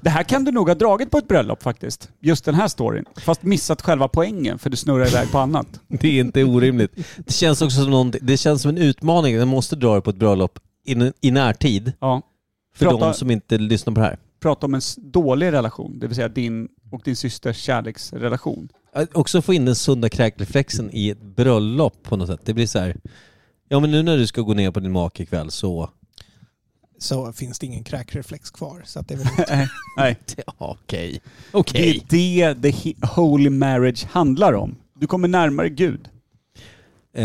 [SPEAKER 2] Det här kan du nog ha dragit på ett bröllop faktiskt. Just den här storyn. Fast missat själva poängen för du snurrar iväg på annat.
[SPEAKER 1] Det är inte orimligt. Det känns också som, någon, det känns som en utmaning. Den måste dra det på ett bröllop i, i närtid
[SPEAKER 2] Ja.
[SPEAKER 1] för
[SPEAKER 2] Prata-
[SPEAKER 1] de som inte lyssnar på det här.
[SPEAKER 2] Prata om en s- dålig relation, det vill säga din och din systers kärleksrelation.
[SPEAKER 1] Att också få in den sunda kräkreflexen i ett bröllop på något sätt. Det blir så här, ja men nu när du ska gå ner på din make ikväll så,
[SPEAKER 3] så finns det ingen kräkreflex kvar. Så att det är väl
[SPEAKER 2] Nej.
[SPEAKER 1] ja, okej.
[SPEAKER 2] Det är
[SPEAKER 1] Okej.
[SPEAKER 2] det the he- holy marriage handlar om. Du kommer närmare Gud.
[SPEAKER 1] Eh,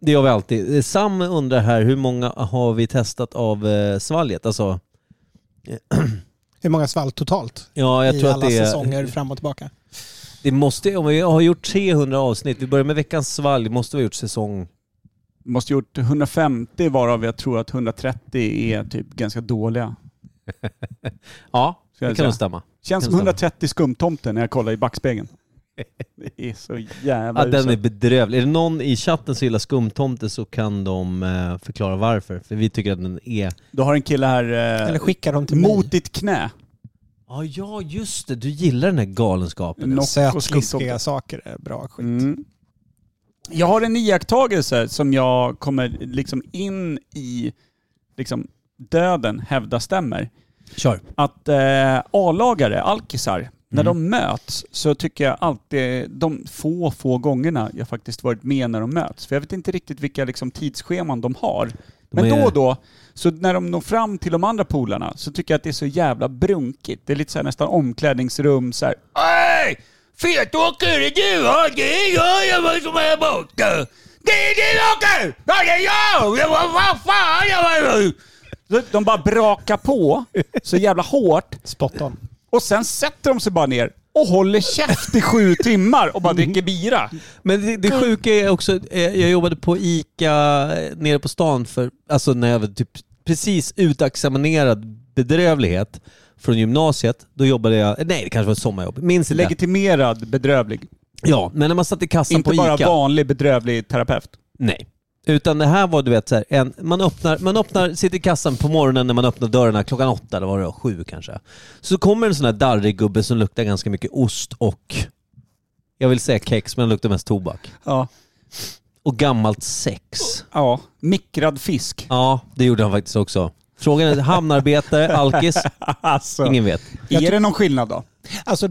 [SPEAKER 1] det gör vi alltid. Eh, Sam undrar här, hur många har vi testat av eh, svalget? Alltså,
[SPEAKER 3] hur många svall totalt
[SPEAKER 1] ja jag
[SPEAKER 3] i
[SPEAKER 1] tror att
[SPEAKER 3] alla
[SPEAKER 1] det
[SPEAKER 3] säsonger
[SPEAKER 1] är,
[SPEAKER 3] fram och tillbaka?
[SPEAKER 1] det måste, om vi har gjort 300 avsnitt, vi börjar med veckans svalg, måste vi ha gjort säsong
[SPEAKER 2] Vi måste ha gjort 150 varav jag tror att 130 är typ ganska dåliga.
[SPEAKER 1] Ja,
[SPEAKER 2] Ska jag
[SPEAKER 1] det kan
[SPEAKER 2] säga.
[SPEAKER 1] nog stämma.
[SPEAKER 2] Känns som
[SPEAKER 1] Kan stämma.
[SPEAKER 2] 130 skumtomten när jag kollar i backspegeln. Det är så jävla
[SPEAKER 1] Ja, den är
[SPEAKER 2] uselt.
[SPEAKER 1] bedrövlig. Är det någon i chatten som gillar skumtomte så kan de eh, förklara varför. För vi tycker att den är...
[SPEAKER 2] Du har en kille här eh,
[SPEAKER 3] Eller skickar de till
[SPEAKER 2] mot
[SPEAKER 3] mig?
[SPEAKER 2] ditt knä.
[SPEAKER 1] Ja, ja just det. Du gillar den här galenskapen.
[SPEAKER 2] Nock och
[SPEAKER 3] Sötsliskiga
[SPEAKER 2] skumtomte.
[SPEAKER 3] saker är bra skit.
[SPEAKER 2] Mm. Jag har en iakttagelse som jag kommer liksom in i liksom döden hävda stämmer.
[SPEAKER 1] Kör.
[SPEAKER 2] Att eh, A-lagare, alkisar, när de möts så tycker jag alltid, de få, få gångerna jag faktiskt varit med när de möts, för jag vet inte riktigt vilka liksom, tidsscheman de har.
[SPEAKER 1] De
[SPEAKER 2] Men
[SPEAKER 1] är-
[SPEAKER 2] då och då, så när de når fram till de andra polarna så tycker jag att det är så jävla brunkigt. Det är lite så här, nästan omklädningsrum så här. Hej! Fetåker, är du? Ja, det är jag, jag var som är borta. Det är din åker! Ja, det är jag! Jag var, vad fan, jag var... Så De bara brakar på så jävla hårt
[SPEAKER 3] Spot on.
[SPEAKER 2] och sen sätter de sig bara ner och håller käft i sju timmar och bara dricker bira.
[SPEAKER 1] Men det, det sjuka är också, eh, jag jobbade på ICA eh, nere på stan för, alltså när jag var typ precis utexaminerad bedrövlighet från gymnasiet. Då jobbade jag, eh, nej det kanske var ett sommarjobb, minns inte.
[SPEAKER 2] Legitimerad bedrövlig.
[SPEAKER 1] Ja, men när man satt i kassan
[SPEAKER 2] Inte
[SPEAKER 1] på
[SPEAKER 2] bara
[SPEAKER 1] ICA.
[SPEAKER 2] vanlig bedrövlig terapeut.
[SPEAKER 1] Nej. Utan det här var du vet så här, en, man, öppnar, man öppnar, sitter i kassan på morgonen när man öppnar dörrarna klockan åtta eller vad det var, sju kanske. Så kommer en sån här darrig gubbe som luktar ganska mycket ost och, jag vill säga kex men han luktar mest tobak.
[SPEAKER 2] Ja.
[SPEAKER 1] Och gammalt sex.
[SPEAKER 2] ja. Mikrad fisk.
[SPEAKER 1] Ja, det gjorde han faktiskt också. Frågan är, hamnarbetare, alkis?
[SPEAKER 2] Alltså.
[SPEAKER 1] Ingen vet.
[SPEAKER 2] Är det någon skillnad då?
[SPEAKER 3] Alltså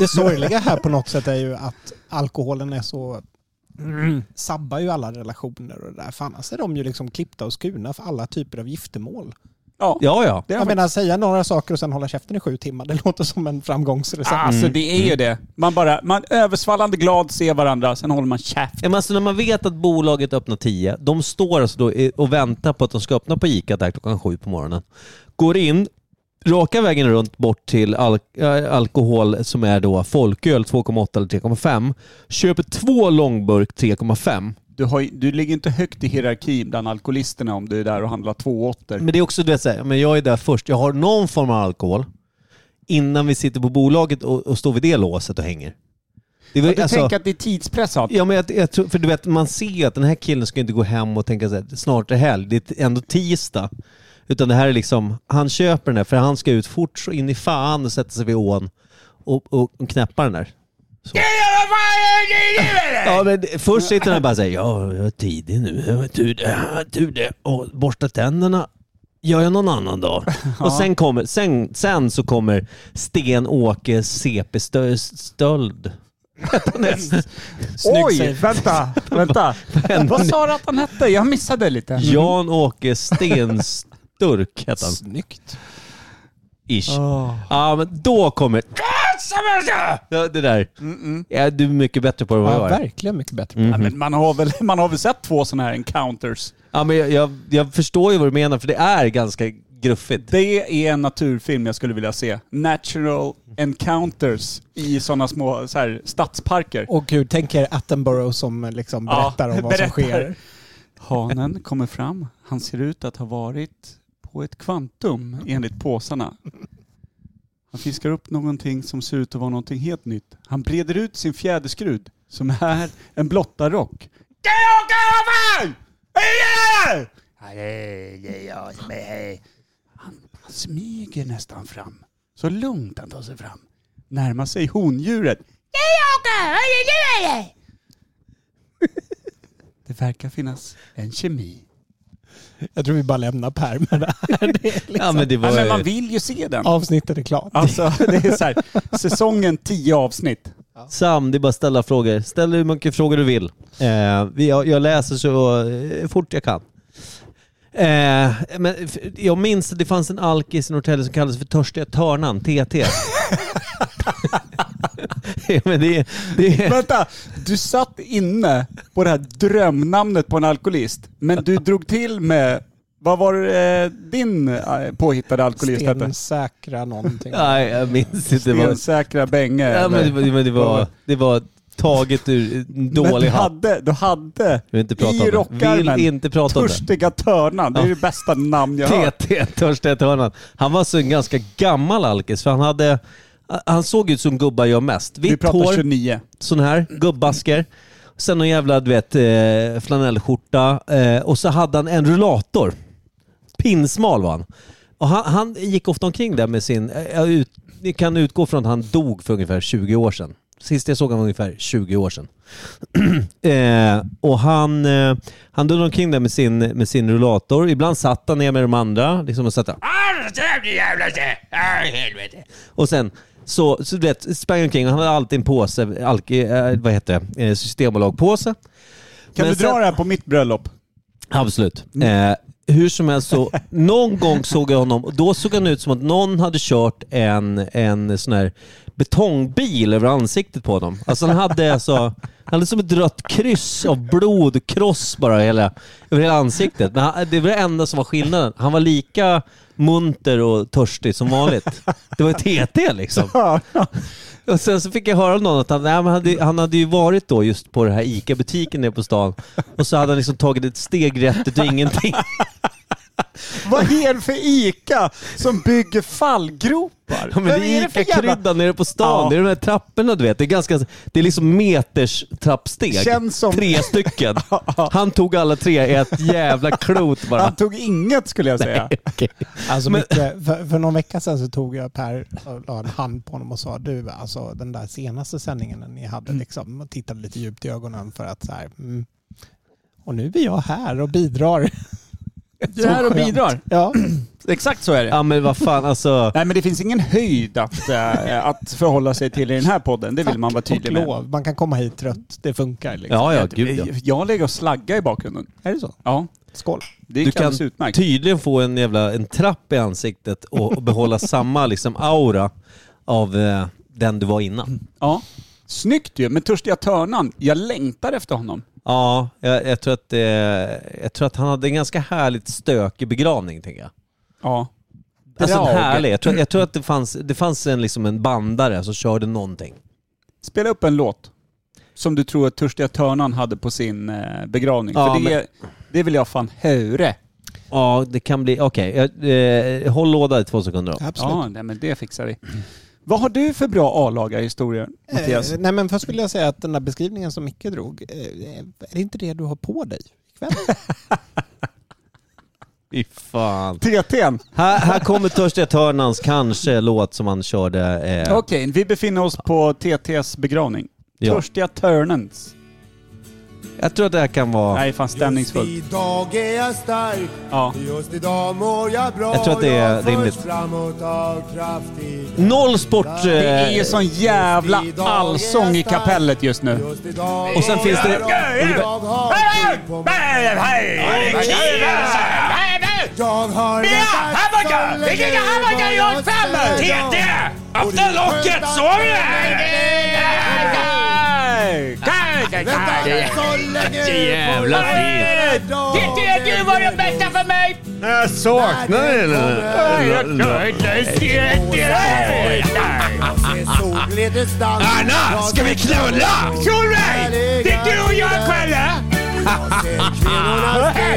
[SPEAKER 3] det sorgliga här på något sätt är ju att alkoholen är så Mm. sabbar ju alla relationer och det där. För annars är de ju liksom klippta och skurna för alla typer av giftermål.
[SPEAKER 2] Ja.
[SPEAKER 1] Ja, ja.
[SPEAKER 2] Det är
[SPEAKER 3] Jag menar säga några saker och sen hålla käften i sju timmar, det låter som en framgångsrecept.
[SPEAKER 2] Alltså det är ju det. Man bara, man översvallande glad ser varandra, sen håller man käft.
[SPEAKER 1] Ja, men Alltså när man vet att bolaget öppnar 10, de står alltså då i- och väntar på att de ska öppna på ICA där klockan sju på morgonen. Går in, raka vägen runt bort till al- äh, alkohol som är då folköl 2,8 eller 3,5. Köper två långburk 3,5.
[SPEAKER 2] Du, har, ju- du ligger inte högt i hierarkin bland alkoholisterna om du är där och handlar två åttor.
[SPEAKER 1] Men det är också du vet, så här, men jag är där först, jag har någon form av alkohol innan vi sitter på bolaget och, och står vid det låset och hänger. Det är väl-
[SPEAKER 2] Du
[SPEAKER 1] alltså-
[SPEAKER 2] tänker att det är tidspress allt.
[SPEAKER 1] Ja, men jag, jag tror, för du vet, man ser ju att den här killen ska inte gå hem och tänka så här, snart är helg, det är ändå tisdag. Utan det här är liksom, han köper den här för han ska ut fort så in i fan och sätta sig vid ån och, och, och knäppa den där. Så. Ja, men det- först sitter han bara säger ja, jag är tidig nu, jag har tur det, jag har tur det. Och borsta tänderna gör jag någon annan dag. Och sen, kommer, sen, sen så kommer Sten-Åke CP Stö- Stöld.
[SPEAKER 3] Snygg
[SPEAKER 2] Oj,
[SPEAKER 3] save.
[SPEAKER 2] vänta, vänta. Mm. Vad sa du att han hette? Jag missade lite.
[SPEAKER 1] Jan-Åke Stensturk hette han.
[SPEAKER 3] Snyggt.
[SPEAKER 1] Ish.
[SPEAKER 3] Ah.
[SPEAKER 1] Ja, men då kommer... Ja, Det där. Ja, du är mycket bättre på det än vad
[SPEAKER 3] Ja, Mm.
[SPEAKER 1] jag är.
[SPEAKER 3] verkligen mycket bättre.
[SPEAKER 2] Ja, men man, har väl, man har väl sett två sådana här encounters?
[SPEAKER 1] Ja, men jag, jag, jag förstår ju vad du menar, för det är ganska gruffigt.
[SPEAKER 2] Det är en naturfilm jag skulle vilja se. Natural encounters i sådana små så här, stadsparker.
[SPEAKER 3] Och gud, tänk er Attenborough som liksom
[SPEAKER 2] Ja,
[SPEAKER 3] berättar om vad som
[SPEAKER 2] berättar.
[SPEAKER 3] sker.
[SPEAKER 2] Hanen kommer fram. Han ser ut att ha varit på ett kvantum enligt påsarna. Han fiskar upp någonting som ser ut att vara någonting helt nytt. Han breder ut sin fjäderskrud som är en blottarrock. Det är jag, grabbar! Är det jag? Nej, det är jag som är här. Han, han smyger nästan fram. Så lugnt han tar sig fram. Närmar sig hondjuret. Det verkar finnas en kemi.
[SPEAKER 3] Jag tror vi bara lämnar Per med det här. Det är
[SPEAKER 1] Ja,
[SPEAKER 3] liksom,
[SPEAKER 1] men det
[SPEAKER 2] Ja,
[SPEAKER 1] var...
[SPEAKER 2] men man vill ju se den.
[SPEAKER 3] Avsnittet är klart.
[SPEAKER 2] Alltså, det är så här, säsongen 10 avsnitt.
[SPEAKER 1] Sam, det är bara att ställa frågor. Ställ hur mycket frågor du vill. Eh, vi- jag, jag läser så eh, fort jag kan. Eh, men f- jag minns att det fanns en alkis i Norrtälje som kallades för Törstiga Törnan, TT. Ja, men det, det,
[SPEAKER 2] Vänta, du satt inne på det här drömnamnet på en alkoholist, men du drog till med, vad var eh, din eh, påhittade alkoholist hette?
[SPEAKER 3] Stensäkra någonting.
[SPEAKER 1] nej, jag minns inte. Vad,
[SPEAKER 2] Stensäkra Benge.
[SPEAKER 1] ja, men det, var- men det, var, det var taget ur en
[SPEAKER 2] men du
[SPEAKER 1] dålig hatt.
[SPEAKER 2] hade, du hade
[SPEAKER 1] Jag vill inte prata
[SPEAKER 2] i
[SPEAKER 1] om det.
[SPEAKER 2] rockärmen
[SPEAKER 1] Vill inte prata om det.
[SPEAKER 2] Törstiga Törnan. Det är det bästa namn jag har hört.
[SPEAKER 1] TT, Törstiga Törnan. Han var så en ganska gammal alkis för han hade... Han såg ut som gubbar gör mest.
[SPEAKER 2] Vi
[SPEAKER 1] Vitt
[SPEAKER 2] pratar
[SPEAKER 1] hår.
[SPEAKER 2] 29.
[SPEAKER 1] sån här, gubbasker. Sen någon jävla du vet, eh, flanellskjorta eh, och så hade han en rullator. Pinsmal var han. Och han, han gick ofta omkring där med sin, eh, jag ut, ni kan utgå från att han dog för ungefär 20 år sedan. Sist jag såg honom var ungefär 20 år sedan. eh, och han, eh, han dundrade omkring där med sin, med sin rullator. Ibland satt han ner med de andra liksom och satt där. Och sen så, så du vet, sprang han omkring och han hade alltid en påse, alk, eh, vad heter det, eh, Systembolagpåse.
[SPEAKER 2] Kan
[SPEAKER 1] Men
[SPEAKER 2] du dra
[SPEAKER 1] sen-
[SPEAKER 2] det här på mitt bröllop? Mm.
[SPEAKER 1] Absolut. Eh, hur som helst så, någon gång såg jag honom och då såg han ut som att någon hade kört en, en sån här betongbil över ansiktet på honom. Alltså han hade alltså, han hade som ett rött kryss av blod och kross bara hela, över hela ansiktet. Men han, det var det enda som var skillnaden. Han var lika munter och törstig som vanligt. Det var TT liksom. Och sen så fick jag höra av någon att han, nej, men han, hade, han hade ju varit då just på den här ICA-butiken nere på stan och så hade han liksom tagit ett steg rätt ut och ingenting.
[SPEAKER 2] Vad är det för ICA som bygger fallgropar?
[SPEAKER 1] Ja, men
[SPEAKER 2] Vad
[SPEAKER 1] det är ICA-kryddan nere på stan.
[SPEAKER 2] Ja.
[SPEAKER 1] Det är de här trapporna du vet. Det är, ganska, det är liksom meters trappsteg.
[SPEAKER 2] Känns som-
[SPEAKER 1] Tre stycken. Han tog alla tre i ett jävla klot bara.
[SPEAKER 2] Han tog inget skulle jag säga.
[SPEAKER 1] Okej.
[SPEAKER 3] Alltså
[SPEAKER 1] Men-
[SPEAKER 3] Micke, för, för någon vecka sedan så tog jag Per och la en hand på honom och sa du, alltså den där senaste sändningen ni hade liksom, och tittade lite djupt i ögonen för att så här, mm, och nu är jag här och bidrar.
[SPEAKER 2] Du är här och
[SPEAKER 3] Skönt.
[SPEAKER 2] bidrar.
[SPEAKER 3] Ja,
[SPEAKER 2] Exakt så är det.
[SPEAKER 1] Ja men vad fan alltså.
[SPEAKER 2] Nej men det finns ingen höjd att, eh, att förhålla sig till i den här podden. Det vill man vara
[SPEAKER 3] och
[SPEAKER 2] tydlig med. Eh,
[SPEAKER 3] lov. Man kan komma hit trött, det funkar. Liksom.
[SPEAKER 1] Ja ja, gud ja.
[SPEAKER 2] Jag lägger och slaggar i bakgrunden.
[SPEAKER 3] Är det så?
[SPEAKER 2] Ja,
[SPEAKER 3] Skål.
[SPEAKER 2] det
[SPEAKER 1] Du
[SPEAKER 2] är
[SPEAKER 1] kan
[SPEAKER 2] alldeles utmärkt.
[SPEAKER 1] tydligen få en jävla en trapp i ansiktet och, och behålla samma liksom aura av eh, den du var innan.
[SPEAKER 2] Ja. Snyggt ju, men Törstiga Törnan, jag längtar efter honom.
[SPEAKER 1] Ja, jag, jag, tror att, eh, jag tror att han hade en ganska härligt stökig begravning, tänker jag.
[SPEAKER 2] Ja.
[SPEAKER 1] Alltså
[SPEAKER 2] Drag.
[SPEAKER 1] en härlig. Jag tror, jag tror att det fanns, det fanns en, liksom en bandare som körde någonting.
[SPEAKER 2] Spela upp en låt som du tror att Törstiga Törnan hade på sin eh, begravning.
[SPEAKER 1] Ja,
[SPEAKER 2] För det, det vill jag fan höra.
[SPEAKER 1] Ja, det kan bli... Okej, jag- eh, håll låda i två sekunder då.
[SPEAKER 3] Absolut.
[SPEAKER 2] Ja, nej, men det fixar vi. Vad har du för bra A-lagarhistorier, Mattias?
[SPEAKER 3] Eh, nej men först vill jag säga att den där beskrivningen som Micke drog, eh, är det inte det du har på dig ikväll?
[SPEAKER 1] Fy fan.
[SPEAKER 2] TT'n!
[SPEAKER 1] Här, här kommer Törstiga Törnans kanske låt som han körde... Eh,
[SPEAKER 2] Okej, vi befinner oss på TT's begravning.
[SPEAKER 1] Ja.
[SPEAKER 2] Törstiga Törnens.
[SPEAKER 1] Jag tror att det här kan vara...
[SPEAKER 2] Nej, fan stämningsfullt.
[SPEAKER 4] Just idag är jag stark,
[SPEAKER 2] Ja.
[SPEAKER 4] just idag mår jag bra.
[SPEAKER 1] Jag tror att det är
[SPEAKER 4] förs
[SPEAKER 1] rimligt.
[SPEAKER 4] framåt av kraftigt.
[SPEAKER 1] Noll sport...
[SPEAKER 4] Det
[SPEAKER 2] Det är
[SPEAKER 1] Eh,
[SPEAKER 2] ju sån jävla allsång i kapellet just nu.
[SPEAKER 4] Just idag
[SPEAKER 1] Och sen
[SPEAKER 4] mår
[SPEAKER 1] finns
[SPEAKER 4] jag
[SPEAKER 1] det-
[SPEAKER 4] bra. Jag har tid på mig. Jag har väntat så länge på att ställa jag.
[SPEAKER 8] Öppna locket, sover du?
[SPEAKER 4] Väntat så länge på
[SPEAKER 8] jävla
[SPEAKER 4] att
[SPEAKER 8] fint.
[SPEAKER 4] ställa jag.
[SPEAKER 8] Tyckte du var det bästa för mig? Jag saknar Anna, ska vi knulla? Solveig! Det är du och jag ikväll,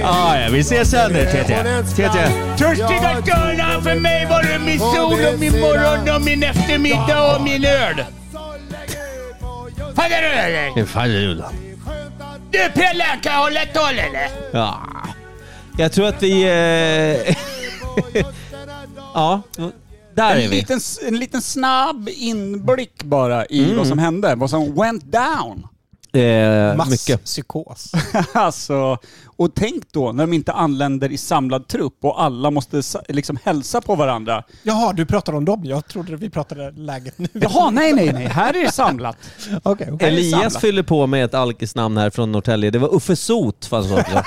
[SPEAKER 8] Ja, ja, vi ses sen Törstiga Gunnar, för mig var du min sol och min morgon och min eftermiddag och min öl. Fattar du eller?
[SPEAKER 1] det fan är det då?
[SPEAKER 8] Du Pelle, kan jag hålla ett tal eller?
[SPEAKER 1] Ja. Jag tror att vi... Eh... ja. Där är
[SPEAKER 2] En
[SPEAKER 1] vi.
[SPEAKER 2] liten, en liten snabb inblick bara i vad som hände, vad som went down.
[SPEAKER 1] Eh, mycket.
[SPEAKER 3] Masspsykos.
[SPEAKER 2] Alltså, och tänk då när de inte anländer i samlad trupp och alla måste sa- liksom hälsa på varandra.
[SPEAKER 3] Jaha, du pratar om dem. Jag trodde vi pratade läget nu.
[SPEAKER 2] Jaha, nej, nej, nej, här är det samlat.
[SPEAKER 3] Okej, okej.
[SPEAKER 1] Elias
[SPEAKER 2] samlat.
[SPEAKER 1] fyller på med ett alkisnamn här från Norrtälje. Det var Uffe Sot fanns det också.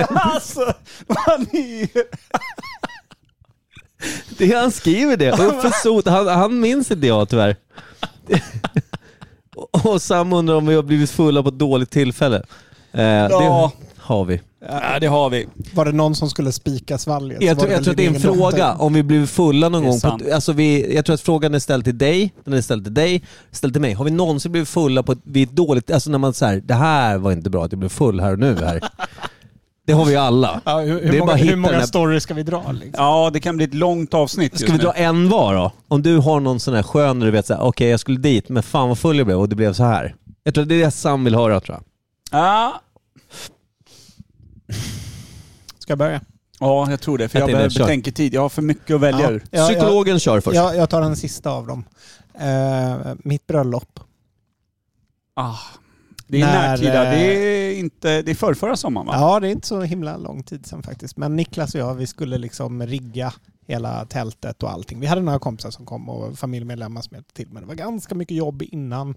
[SPEAKER 2] Alltså, vad ni...
[SPEAKER 1] det är han skriver det. Uffe Sot, han, han minns inte jag tyvärr. Och Sam undrar om vi har blivit fulla på ett dåligt tillfälle. Eh,
[SPEAKER 2] Ja.
[SPEAKER 1] Det har vi.
[SPEAKER 2] Ja, det har vi.
[SPEAKER 3] Var det någon som skulle spika svalget? så
[SPEAKER 1] Jag
[SPEAKER 3] var
[SPEAKER 1] tror, jag
[SPEAKER 3] väl
[SPEAKER 1] tror att det är en
[SPEAKER 3] din egen
[SPEAKER 1] fråga
[SPEAKER 3] dotter.
[SPEAKER 1] om vi blivit fulla någon
[SPEAKER 2] Det är
[SPEAKER 1] gång. På,
[SPEAKER 2] sant.
[SPEAKER 1] ett- alltså vi, jag tror att frågan är ställd till dig, den är ställd till dig, ställd till mig. Har vi någonsin blivit fulla på ett, vid ett dåligt... Alltså när man säger det här var inte bra att jag blev full här och nu här. Det har vi ju alla.
[SPEAKER 3] Ja, hur,
[SPEAKER 1] Det
[SPEAKER 3] hur
[SPEAKER 1] är bara
[SPEAKER 3] många,
[SPEAKER 1] att hitta
[SPEAKER 3] hur många
[SPEAKER 1] den här-
[SPEAKER 3] stories ska vi dra? Liksom?
[SPEAKER 2] Ja, det kan bli ett långt avsnitt just
[SPEAKER 1] Ska vi
[SPEAKER 2] nu.
[SPEAKER 1] dra en var då? Om du har någon sån här skön där du vet såhär, okej jag skulle dit men fan vad full jag blev och det blev så här. Jag tror att det är det Sam vill höra tror jag.
[SPEAKER 2] Ja,
[SPEAKER 3] Ska jag börja?
[SPEAKER 2] ja, jag tror det. För
[SPEAKER 1] Jag
[SPEAKER 2] jag
[SPEAKER 1] tänker,
[SPEAKER 2] behöver
[SPEAKER 1] kör.
[SPEAKER 2] betänketid. Jag har för mycket att välja
[SPEAKER 3] Ja.
[SPEAKER 2] ur.
[SPEAKER 3] Ja,
[SPEAKER 1] Psykologen kör
[SPEAKER 3] Jag,
[SPEAKER 1] först.
[SPEAKER 3] jag, jag tar den sista av dem. Eh, mitt bröllop.
[SPEAKER 2] Ah, det är
[SPEAKER 3] När,
[SPEAKER 2] närtida.
[SPEAKER 3] eh,
[SPEAKER 2] Det är, inte, det är förrförra sommaren va?
[SPEAKER 3] Ja, det är inte så himla lång tid sedan faktiskt. Men Niklas och jag, vi skulle liksom rigga hela tältet och allting. Vi hade några kompisar som kom och familjemedlemmar som hjälpte till. Men det var ganska mycket jobb innan.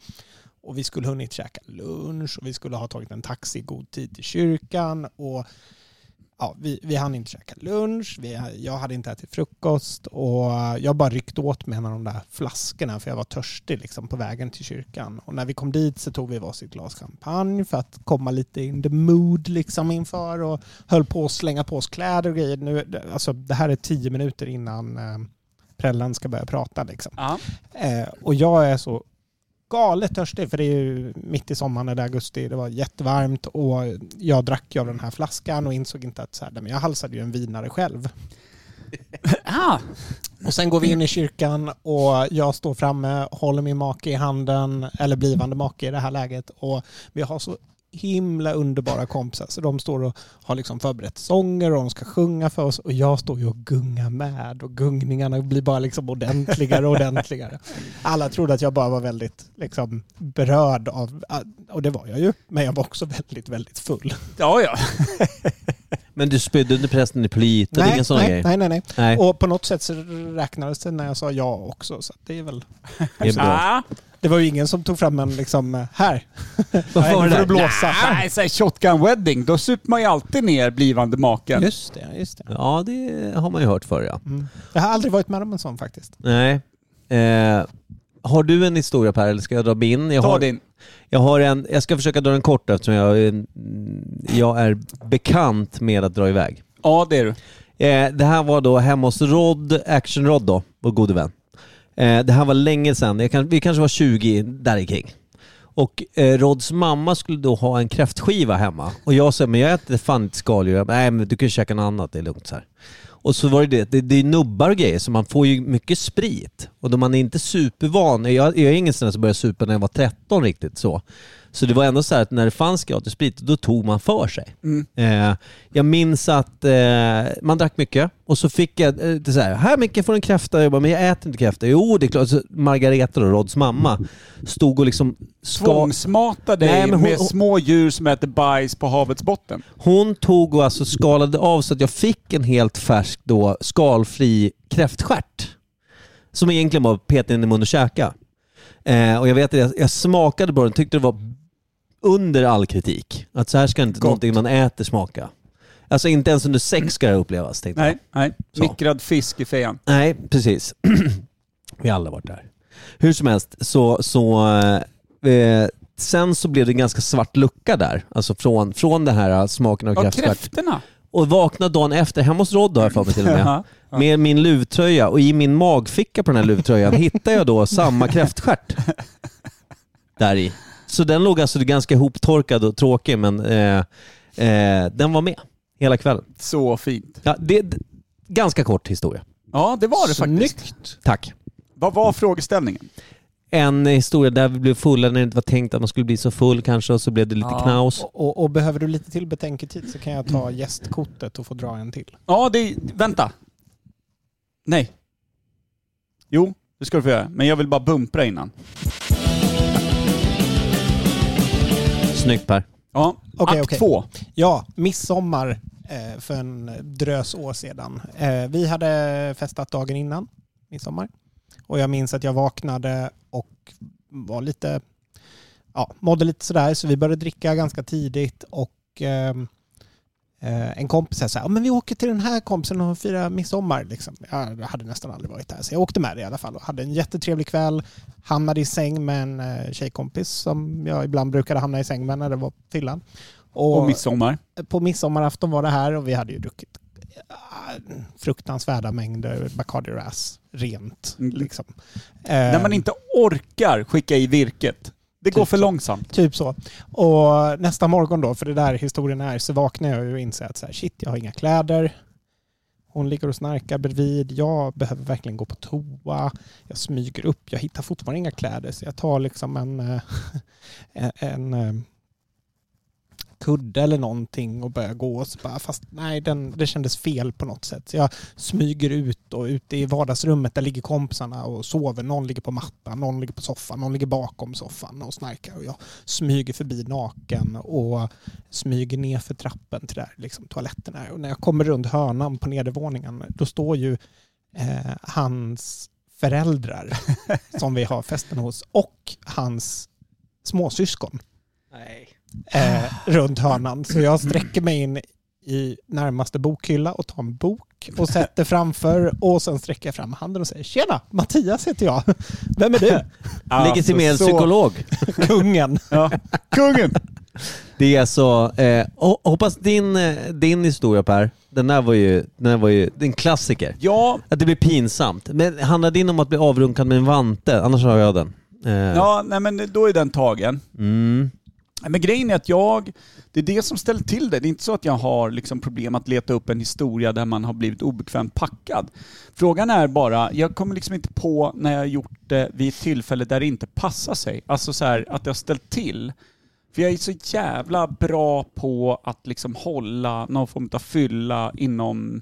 [SPEAKER 3] Och vi skulle hunnit käka lunch och vi skulle ha tagit en taxi i god tid till kyrkan. Och ja, vi, vi hann inte käka lunch, vi, jag hade inte ätit frukost och jag bara ryckte åt mig en av de där flaskorna för jag var törstig liksom, på vägen till kyrkan. Och när vi kom dit så tog vi varsitt glas champagne för att komma lite in the mood liksom, inför och höll på att slänga på oss kläder och grejer. Nu, alltså, det här är tio minuter innan eh, prällen ska börja prata. Liksom.
[SPEAKER 2] Ja.
[SPEAKER 3] Eh, och jag är så galet törstig för det är ju mitt i sommaren, det är augusti, det var jättevarmt och jag drack ju av den här flaskan och insåg inte att så här, nej, men jag halsade ju en vinare själv.
[SPEAKER 2] Ah,
[SPEAKER 3] Och sen går vi in i kyrkan och jag står framme, håller min make i handen, eller blivande make i det här läget. Och vi har så himla underbara kompisar. Så de står och har liksom förberett sånger och de ska sjunga för oss. Och jag står ju och gungar med och gungningarna blir bara liksom ordentligare och ordentligare. Alla trodde att jag bara var väldigt liksom berörd av, och det var jag ju, men jag var också väldigt, väldigt full.
[SPEAKER 2] ja, ja.
[SPEAKER 1] Men du spydde under prästen i plyt, det är ingen sån
[SPEAKER 3] nej,
[SPEAKER 1] grej.
[SPEAKER 3] nej, nej, nej.
[SPEAKER 1] Nej,
[SPEAKER 3] Och på något sätt så räknades det när jag sa ja också. Så att det är väl
[SPEAKER 1] det är bra.
[SPEAKER 2] Ah.
[SPEAKER 3] Det var ju ingen som tog fram en liksom, här.
[SPEAKER 1] Vad var det
[SPEAKER 3] för
[SPEAKER 1] där?
[SPEAKER 3] att blåsa.
[SPEAKER 2] Nej, så här shotgun wedding, då super man ju alltid ner blivande maken.
[SPEAKER 3] Just det, just det.
[SPEAKER 1] Ja, det har man ju hört förr ja.
[SPEAKER 3] Jag har aldrig varit med om en sån faktiskt.
[SPEAKER 1] Nej. Eh, har du en historia Per, eller ska jag dra min? Jag
[SPEAKER 2] Ta
[SPEAKER 1] har,
[SPEAKER 2] din.
[SPEAKER 1] jag har en, jag ska försöka dra den kort eftersom jag, är- jag är bekant med att dra iväg.
[SPEAKER 2] Ja, det är du.
[SPEAKER 1] Eh, det här var då hemma hos Rod, Action-Rod då, vår gode vän. Eh, det här var länge sedan, jag kan, vi kanske var 20 där i kring. Och eh, Rods mamma skulle då ha en kräftskiva hemma och jag sa men jag äter fan inte skaldjur. Jag bara, Nej men du kan ju käka något annat, det är lugnt så här. Och så var det det, det, det är nubbar och grejer så man får ju mycket sprit. Och då man är inte supervan, jag, jag är ingen sån där som började supa när jag var 13 riktigt så. Så det var ändå så här att när det fanns gratis sprit, då tog man för sig. Eh, jag minns att eh, man drack mycket och så fick jag eh, det så här, här Micke får du en kräfta. Jag bara, men jag äter inte kräfta. Jo det är klart. Så Margareta då, Rods mamma, stod och liksom ska,
[SPEAKER 2] Tvångsmata dig
[SPEAKER 1] Nej, men hon-
[SPEAKER 2] med
[SPEAKER 1] hon- små
[SPEAKER 2] små djur som äter bajs på havets botten.
[SPEAKER 1] Hon tog och alltså skalade av så att jag fick en helt färsk då skalfri kräftstjärt. Som egentligen var peta in i munnen och käka. Eh, och jag vet att jag, jag smakade på den tyckte det var under all kritik. Att så här ska inte
[SPEAKER 2] Gott.
[SPEAKER 1] någonting man äter smaka. Alltså inte ens under sex ska det upplevas tänkte jag.
[SPEAKER 2] Nej, nej.
[SPEAKER 1] Så.
[SPEAKER 2] Mikrad fisk i fejan.
[SPEAKER 1] Nej, precis. Vi har alla varit där. Hur som helst, så, så eh, eh, sen så blev det en ganska svart lucka där. Alltså från, från den här eh, smaken av
[SPEAKER 2] Ja,
[SPEAKER 1] kräftstjärt.
[SPEAKER 2] kräftorna.
[SPEAKER 1] Och vaknade dagen efter, hemma hos Rod har jag för mig till och med,
[SPEAKER 2] Ja.
[SPEAKER 1] med min luvtröja och i min magficka på den här luvtröjan hittade jag då samma kräftstjärt där i. Så den låg alltså ganska ihoptorkad och tråkig men eh, eh, den var med hela kvällen.
[SPEAKER 2] Så fint.
[SPEAKER 1] Ja, det, d- ganska kort historia.
[SPEAKER 2] Ja, det var det faktiskt.
[SPEAKER 3] Snyggt!
[SPEAKER 1] Tack.
[SPEAKER 2] Vad var frågeställningen?
[SPEAKER 1] en historia där vi blev fulla när det inte var tänkt att man skulle bli så full kanske och så blev det lite
[SPEAKER 3] Ja,
[SPEAKER 1] knaus.
[SPEAKER 3] Och, och, och behöver du lite till betänketid så kan jag ta gästkortet och få dra en till.
[SPEAKER 2] Ja, det... Vänta. Nej. Jo, det ska du få göra. Men jag vill bara bumpra innan.
[SPEAKER 1] Snyggt Per.
[SPEAKER 2] Ja,
[SPEAKER 3] Okej,
[SPEAKER 2] akt
[SPEAKER 3] okej.
[SPEAKER 2] två.
[SPEAKER 3] Ja, midsommar eh, för en drös år sedan. Eh, Vi hade festat dagen innan midsommar. Och jag minns att jag vaknade och var lite, ja, mådde lite sådär. Så vi började dricka ganska tidigt och ehm, eh, en kompis sa så här, "Ja, men vi åker till den här kompisen och firar midsommar. Liksom. Jag hade nästan aldrig varit där, så jag åkte med det i alla fall och hade en jättetrevlig kväll. Hamnade i säng med en eh, tjejkompis som jag ibland brukade hamna i säng med när det var fyllan.
[SPEAKER 2] Och midsommar.
[SPEAKER 3] på midsommarafton var det här och vi hade ju druckit eh, fruktansvärda mängder Bacardi Ras rent.
[SPEAKER 2] Mm.
[SPEAKER 3] Liksom.
[SPEAKER 2] När
[SPEAKER 3] Eh,
[SPEAKER 2] man inte orkar skicka i virket. Det går
[SPEAKER 3] Typ
[SPEAKER 2] för
[SPEAKER 3] så.
[SPEAKER 2] långsamt.
[SPEAKER 3] Typ så. Och nästa morgon då, för det där historien är, så vaknar jag ju och inser att så här, shit, jag har inga kläder. Hon ligger och snarkar bredvid. Jag behöver verkligen gå på toa. Jag smyger upp. Jag hittar fortfarande inga kläder så jag tar liksom en, eh, en, en eh, kudde eller någonting och börjar gå. Och så bara, fast nej, den, det kändes fel på något sätt. Så jag smyger ut och ute i vardagsrummet där ligger kompisarna och sover. Någon ligger på mattan, någon ligger på soffan, någon ligger bakom soffan och snarkar. Och jag smyger förbi naken och smyger ner för trappen till där liksom, toaletten är. Och när jag kommer runt hörnan på nedervåningen då står ju eh, hans föräldrar som vi har festen hos och hans småsyskon eh, runt hörnan. Så jag sträcker mig in i närmaste bokhylla och tar en bok och sätter framför och sen sträcker jag fram handen och säger Tjena, Mattias heter jag. Vem är du?
[SPEAKER 1] Legitimerad
[SPEAKER 2] alltså så-
[SPEAKER 1] psykolog.
[SPEAKER 3] Kungen.
[SPEAKER 2] Ja. Kungen!
[SPEAKER 1] Det är alltså, eh, ho- hoppas din, eh, din historia Per, den där var ju, den där var ju det är en klassiker.
[SPEAKER 2] Ja,
[SPEAKER 1] Att det blir pinsamt. Men handlar din om att bli avrunkad med en vante? Annars har jag den. Eh,
[SPEAKER 2] ja nej, men då är den tagen.
[SPEAKER 1] Mm.
[SPEAKER 2] Men grejen är att jag, det är det som ställer till det. Det är inte så att jag har liksom problem att leta upp en historia där man har blivit obekvämt packad. Frågan är bara, jag kommer liksom inte på när jag gjort det vid ett tillfälle där det inte passar sig. Alltså så här, att jag har ställt till. För jag är så jävla bra på att liksom hålla någon form av fylla inom...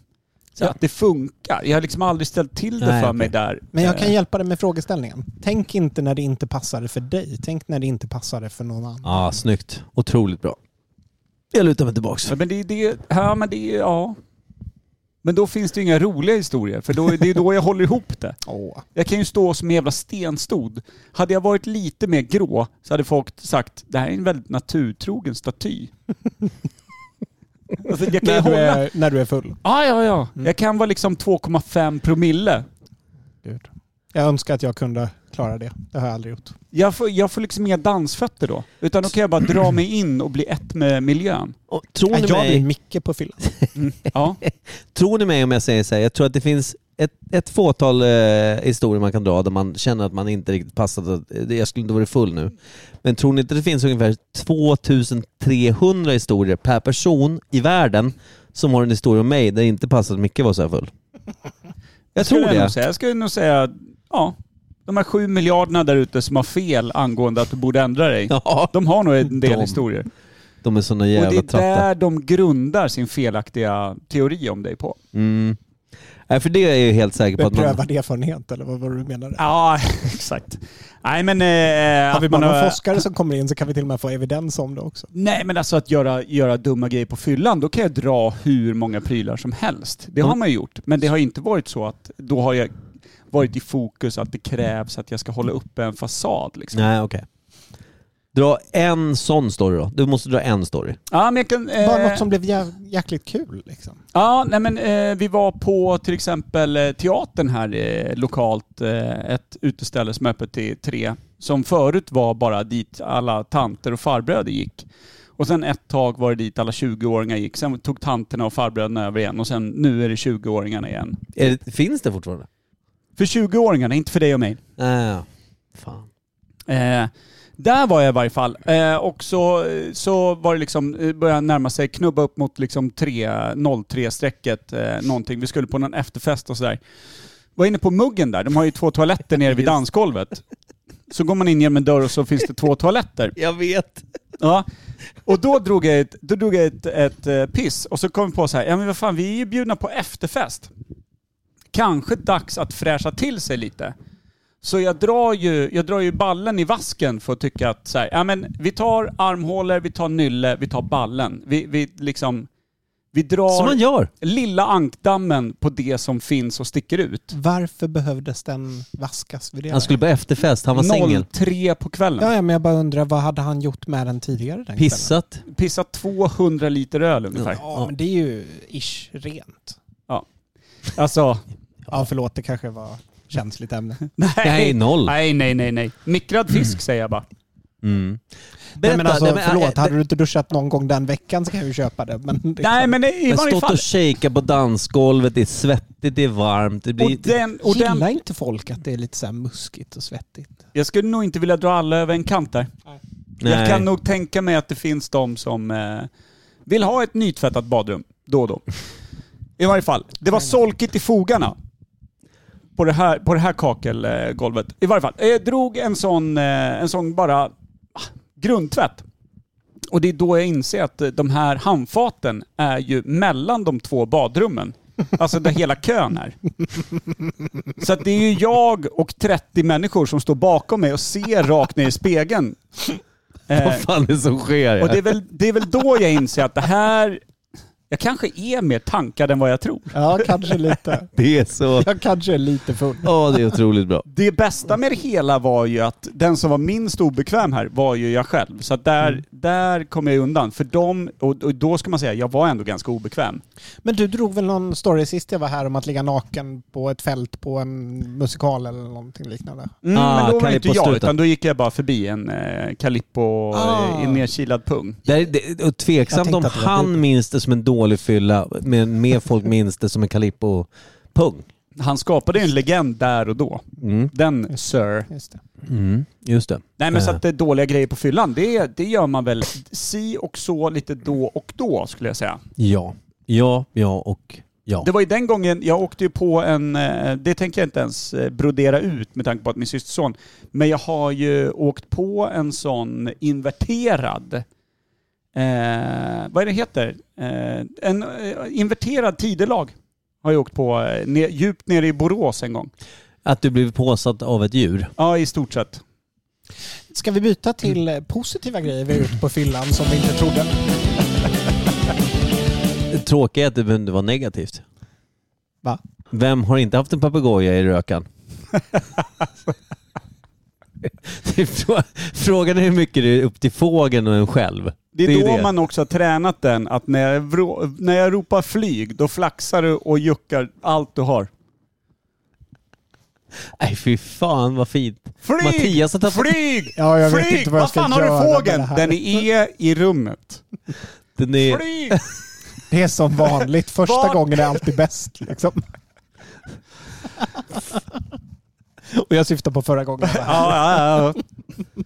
[SPEAKER 2] Så
[SPEAKER 1] Ja.
[SPEAKER 2] att det funkar. Jag har liksom aldrig ställt till det
[SPEAKER 1] Nej,
[SPEAKER 2] för
[SPEAKER 1] okej.
[SPEAKER 2] mig där.
[SPEAKER 3] Men jag kan
[SPEAKER 2] Eh,
[SPEAKER 3] hjälpa dig med frågeställningen. Tänk inte när det inte passade för dig. Tänk när det inte passade för någon annan.
[SPEAKER 1] Ja, Ah, snyggt. Otroligt bra. Jag lutar mig tillbaks.
[SPEAKER 2] Men det är det, ja men det är, ja. Men då finns det ju inga roliga historier, för då, det är då jag håller ihop det.
[SPEAKER 3] Åh.
[SPEAKER 2] Jag kan ju stå som en jävla stenstod. Hade jag varit lite mer grå så hade folk sagt det här är en väldigt naturtrogen staty. alltså, jag kan ju
[SPEAKER 3] När, du
[SPEAKER 2] hålla...
[SPEAKER 3] är, Mm. när du är full.
[SPEAKER 2] Ja, ja, ja. Jag kan vara liksom 2,5 promille.
[SPEAKER 3] Gud. Jag önskar att jag kunde klara det. Det har jag aldrig gjort.
[SPEAKER 2] Jag får, jag får liksom inga dansfötter då. Utan då kan jag bara dra mig in och bli ett med miljön.
[SPEAKER 1] Och, tror, ni
[SPEAKER 3] Jag blir
[SPEAKER 1] mig,
[SPEAKER 3] Micke på fyllan.
[SPEAKER 2] Ja.
[SPEAKER 1] tror ni mig om jag säger så här? Jag tror att det finns ett, ett fåtal eh, historier man kan dra där man känner att man inte riktigt passat. att- eh, Jag skulle inte varit full nu. Men tror ni inte det finns ungefär 2300 historier per person i världen som har en historia om mig där det inte passat att Micke var så här full? Jag tror
[SPEAKER 2] skulle Jag, nog
[SPEAKER 1] det.
[SPEAKER 2] säga. jag skulle nog säga, ja. De här sju miljarderna där ute som har fel angående att du borde ändra dig.
[SPEAKER 1] Ja,
[SPEAKER 2] De har nog en del
[SPEAKER 1] De.
[SPEAKER 2] historier.
[SPEAKER 1] de är såna
[SPEAKER 2] Och det
[SPEAKER 1] jävla
[SPEAKER 2] är
[SPEAKER 1] tratta.
[SPEAKER 2] där de grundar sin felaktiga teori om dig på.
[SPEAKER 1] Mm. Nej, för det är jag ju helt säker på att man...
[SPEAKER 3] Beprövad erfarenhet eller vad var det du menade?
[SPEAKER 2] Ja, exakt. Nej men... Eh,
[SPEAKER 3] Har vi
[SPEAKER 2] att
[SPEAKER 3] bara
[SPEAKER 2] man
[SPEAKER 3] någon
[SPEAKER 2] har-
[SPEAKER 3] forskare som kommer in så kan vi till och med få evidens om det också.
[SPEAKER 2] Nej men alltså att göra, göra dumma grejer på fyllan, då kan jag dra hur många prylar som helst. Det har man ju gjort. Men det har ju inte varit så att då har jag varit i fokus att det krävs att jag ska hålla uppe en fasad. Liksom.
[SPEAKER 1] Nej, okej. Dra en sån story då. Du måste dra en story.
[SPEAKER 2] Ja, men jag kan, eh,
[SPEAKER 3] Bara något som blev jä- jäkligt kul. Liksom.
[SPEAKER 2] Ja, nej men eh, vi var på till exempel eh, teatern här eh, lokalt, eh, ett uteställe som är öppet till tre, som förut var bara dit alla tanter och farbröder gick. Och sen ett tag var det dit alla 20-åringar gick, sen tog tanterna och farbröderna över igen och sen nu är det 20-åringarna igen.
[SPEAKER 1] Är det, finns det fortfarande?
[SPEAKER 2] För 20-åringarna, inte för dig och mig.
[SPEAKER 1] Nej, ja. fan.
[SPEAKER 2] Eh, där var jag i varje fall. Eh, och så, så var det liksom, eh, började närma sig, knubba upp mot liksom 03-strecket, eh, någonting. Vi skulle på någon efterfest och sådär. Var inne på muggen där, de har ju två toaletter nere vid dansgolvet. Så går man in genom en dörr och så finns det två toaletter.
[SPEAKER 1] Jag vet.
[SPEAKER 2] Ja. Och då drog jag ett, då drog jag ett, ett eh, piss och så kom vi på så här, ja men vad fan vi är ju bjudna på efterfest. Kanske dags att fräscha till sig lite. Så jag drar ju, jag drar ju ballen i vasken för att tycka att så här, ja men vi tar armhålor, vi tar nylle, vi tar ballen. Vi, vi liksom, vi
[SPEAKER 1] Som man
[SPEAKER 2] drar
[SPEAKER 1] gör.
[SPEAKER 2] lilla ankdammen på det som finns och sticker ut.
[SPEAKER 3] Varför behövdes den vaskas vid det?
[SPEAKER 1] Han skulle på efterfest, han var singel.
[SPEAKER 2] 03 på kvällen.
[SPEAKER 3] ja, ja, men jag bara undrar, vad hade han gjort med den tidigare den kvällen?
[SPEAKER 1] Pissat.
[SPEAKER 2] Pissat 200 liter öl ungefär.
[SPEAKER 3] Ja, men det är ju ish rent.
[SPEAKER 2] Alltså,
[SPEAKER 3] Ja, förlåt, det kanske var känsligt ämne.
[SPEAKER 2] nej.
[SPEAKER 1] Nej, noll.
[SPEAKER 2] Nej, nej, nej, nej. Mikrad fisk säger jag bara.
[SPEAKER 1] Mm.
[SPEAKER 3] Nej, men alltså,
[SPEAKER 1] nej, men,
[SPEAKER 3] förlåt,
[SPEAKER 1] äh,
[SPEAKER 3] hade du inte duschat någon gång den veckan så kan jag ju köpa det. Men det är
[SPEAKER 2] Nej,
[SPEAKER 3] klart.
[SPEAKER 2] men i
[SPEAKER 1] Jag har
[SPEAKER 2] varje
[SPEAKER 1] stått
[SPEAKER 2] fall.
[SPEAKER 1] och shakat på dansgolvet, det är svettigt, det är varmt. Det
[SPEAKER 2] Och
[SPEAKER 1] blir...
[SPEAKER 2] den, och den,
[SPEAKER 3] Gillar inte folk att det är lite så här muskigt och svettigt?
[SPEAKER 2] jag skulle nog inte vilja dra alla över en kant där.
[SPEAKER 1] Nej.
[SPEAKER 2] Jag kan nog tänka mig att det finns de som eh, vill ha ett nytvättat badrum då och då. I varje fall, det var solkigt i fogarna. På det här, på det här kakelgolvet. I varje fall, jag drog en sån, eh, en sån bara ah, grundtvätt. Och det är då jag inser att eh, de här handfaten är ju mellan de två badrummen. Alltså där hela kön är. Så att det är ju jag och 30 människor som står bakom mig och ser rakt ner i spegeln. Eh,
[SPEAKER 1] Vad fan är det som sker?
[SPEAKER 2] och det är, väl, det är väl då jag inser att det här... Jag kanske är mer tankad än vad jag tror.
[SPEAKER 3] Ja, kanske lite.
[SPEAKER 1] Det är så...
[SPEAKER 3] Jag kanske är lite full.
[SPEAKER 1] Ja, det är otroligt bra.
[SPEAKER 2] Det bästa med det hela var ju att den som var minst obekväm här var ju jag själv. Så att där, där kom jag undan. För dem, och, och då ska man säga, jag var ändå ganska obekväm.
[SPEAKER 3] Men du drog väl någon story sist jag var här om att ligga naken på ett fält på en musikal eller någonting liknande?
[SPEAKER 2] Mm,
[SPEAKER 1] Ah,
[SPEAKER 2] men då var det inte jag,
[SPEAKER 1] Kalippo-struten.
[SPEAKER 2] utan då gick jag bara förbi en eh, Kalippo
[SPEAKER 3] Ah.
[SPEAKER 2] eh, i nedkilad pung.
[SPEAKER 1] Det är, det, och
[SPEAKER 3] Jag
[SPEAKER 1] tveksamt
[SPEAKER 3] tänkte
[SPEAKER 1] om
[SPEAKER 3] att det var
[SPEAKER 1] han
[SPEAKER 3] Bibeln.
[SPEAKER 1] minns det som en dålig fylla, men mer folk minns det som en Calippo-pung.
[SPEAKER 2] Han skapade ju en legend där och då.
[SPEAKER 1] Mm.
[SPEAKER 2] Den Sir.
[SPEAKER 3] Just det.
[SPEAKER 1] Mm. Just det.
[SPEAKER 2] Nej men så
[SPEAKER 1] Eh.
[SPEAKER 2] att det är dåliga grejer på fyllan, det, det gör man väl si och så lite då och då skulle jag säga.
[SPEAKER 1] Ja. Ja, ja och ja.
[SPEAKER 2] Det var ju den gången, jag åkte ju på en, eh, det tänker jag inte ens eh, brodera ut med tanke på att min systerson, men jag har ju åkt på en sån inverterad, eh, vad är det heter? Eh, en eh, inverterad tidelag har jag åkt på eh, ne- djupt nere i Borås en gång.
[SPEAKER 1] Att du blev påsatt av ett djur.
[SPEAKER 2] Ja, i stort sett.
[SPEAKER 3] Ska vi byta till eh, positiva grejer vi har gjort på fyllan som vi inte trodde?
[SPEAKER 1] Det tråkiga är att det behöver inte vara negativt.
[SPEAKER 3] Va?
[SPEAKER 1] Vem har inte haft en papegoja i rökan? Det är frå- Frågan är hur mycket det är upp till fågeln och en själv.
[SPEAKER 2] Det är,
[SPEAKER 1] ju
[SPEAKER 2] då man också har tränat den, att när jag, vrå- när jag ropar flyg, då flaxar du och juckar allt du har.
[SPEAKER 1] Nej fy fan vad fint.
[SPEAKER 2] Flyg!
[SPEAKER 1] Mattias har tappat...
[SPEAKER 2] Flyg!
[SPEAKER 3] Ja, jag vet
[SPEAKER 2] Flyg!
[SPEAKER 3] inte vad jag ska
[SPEAKER 2] fan har
[SPEAKER 3] göra
[SPEAKER 2] du
[SPEAKER 3] med
[SPEAKER 2] fågeln?
[SPEAKER 3] det här.
[SPEAKER 2] Den är i rummet.
[SPEAKER 1] Den är...
[SPEAKER 2] Flyg!
[SPEAKER 3] Det är som vanligt, första
[SPEAKER 2] Vart?
[SPEAKER 3] gången är alltid bäst. Liksom. Och jag syftar på förra gången. jag var här.
[SPEAKER 2] Ja, ja,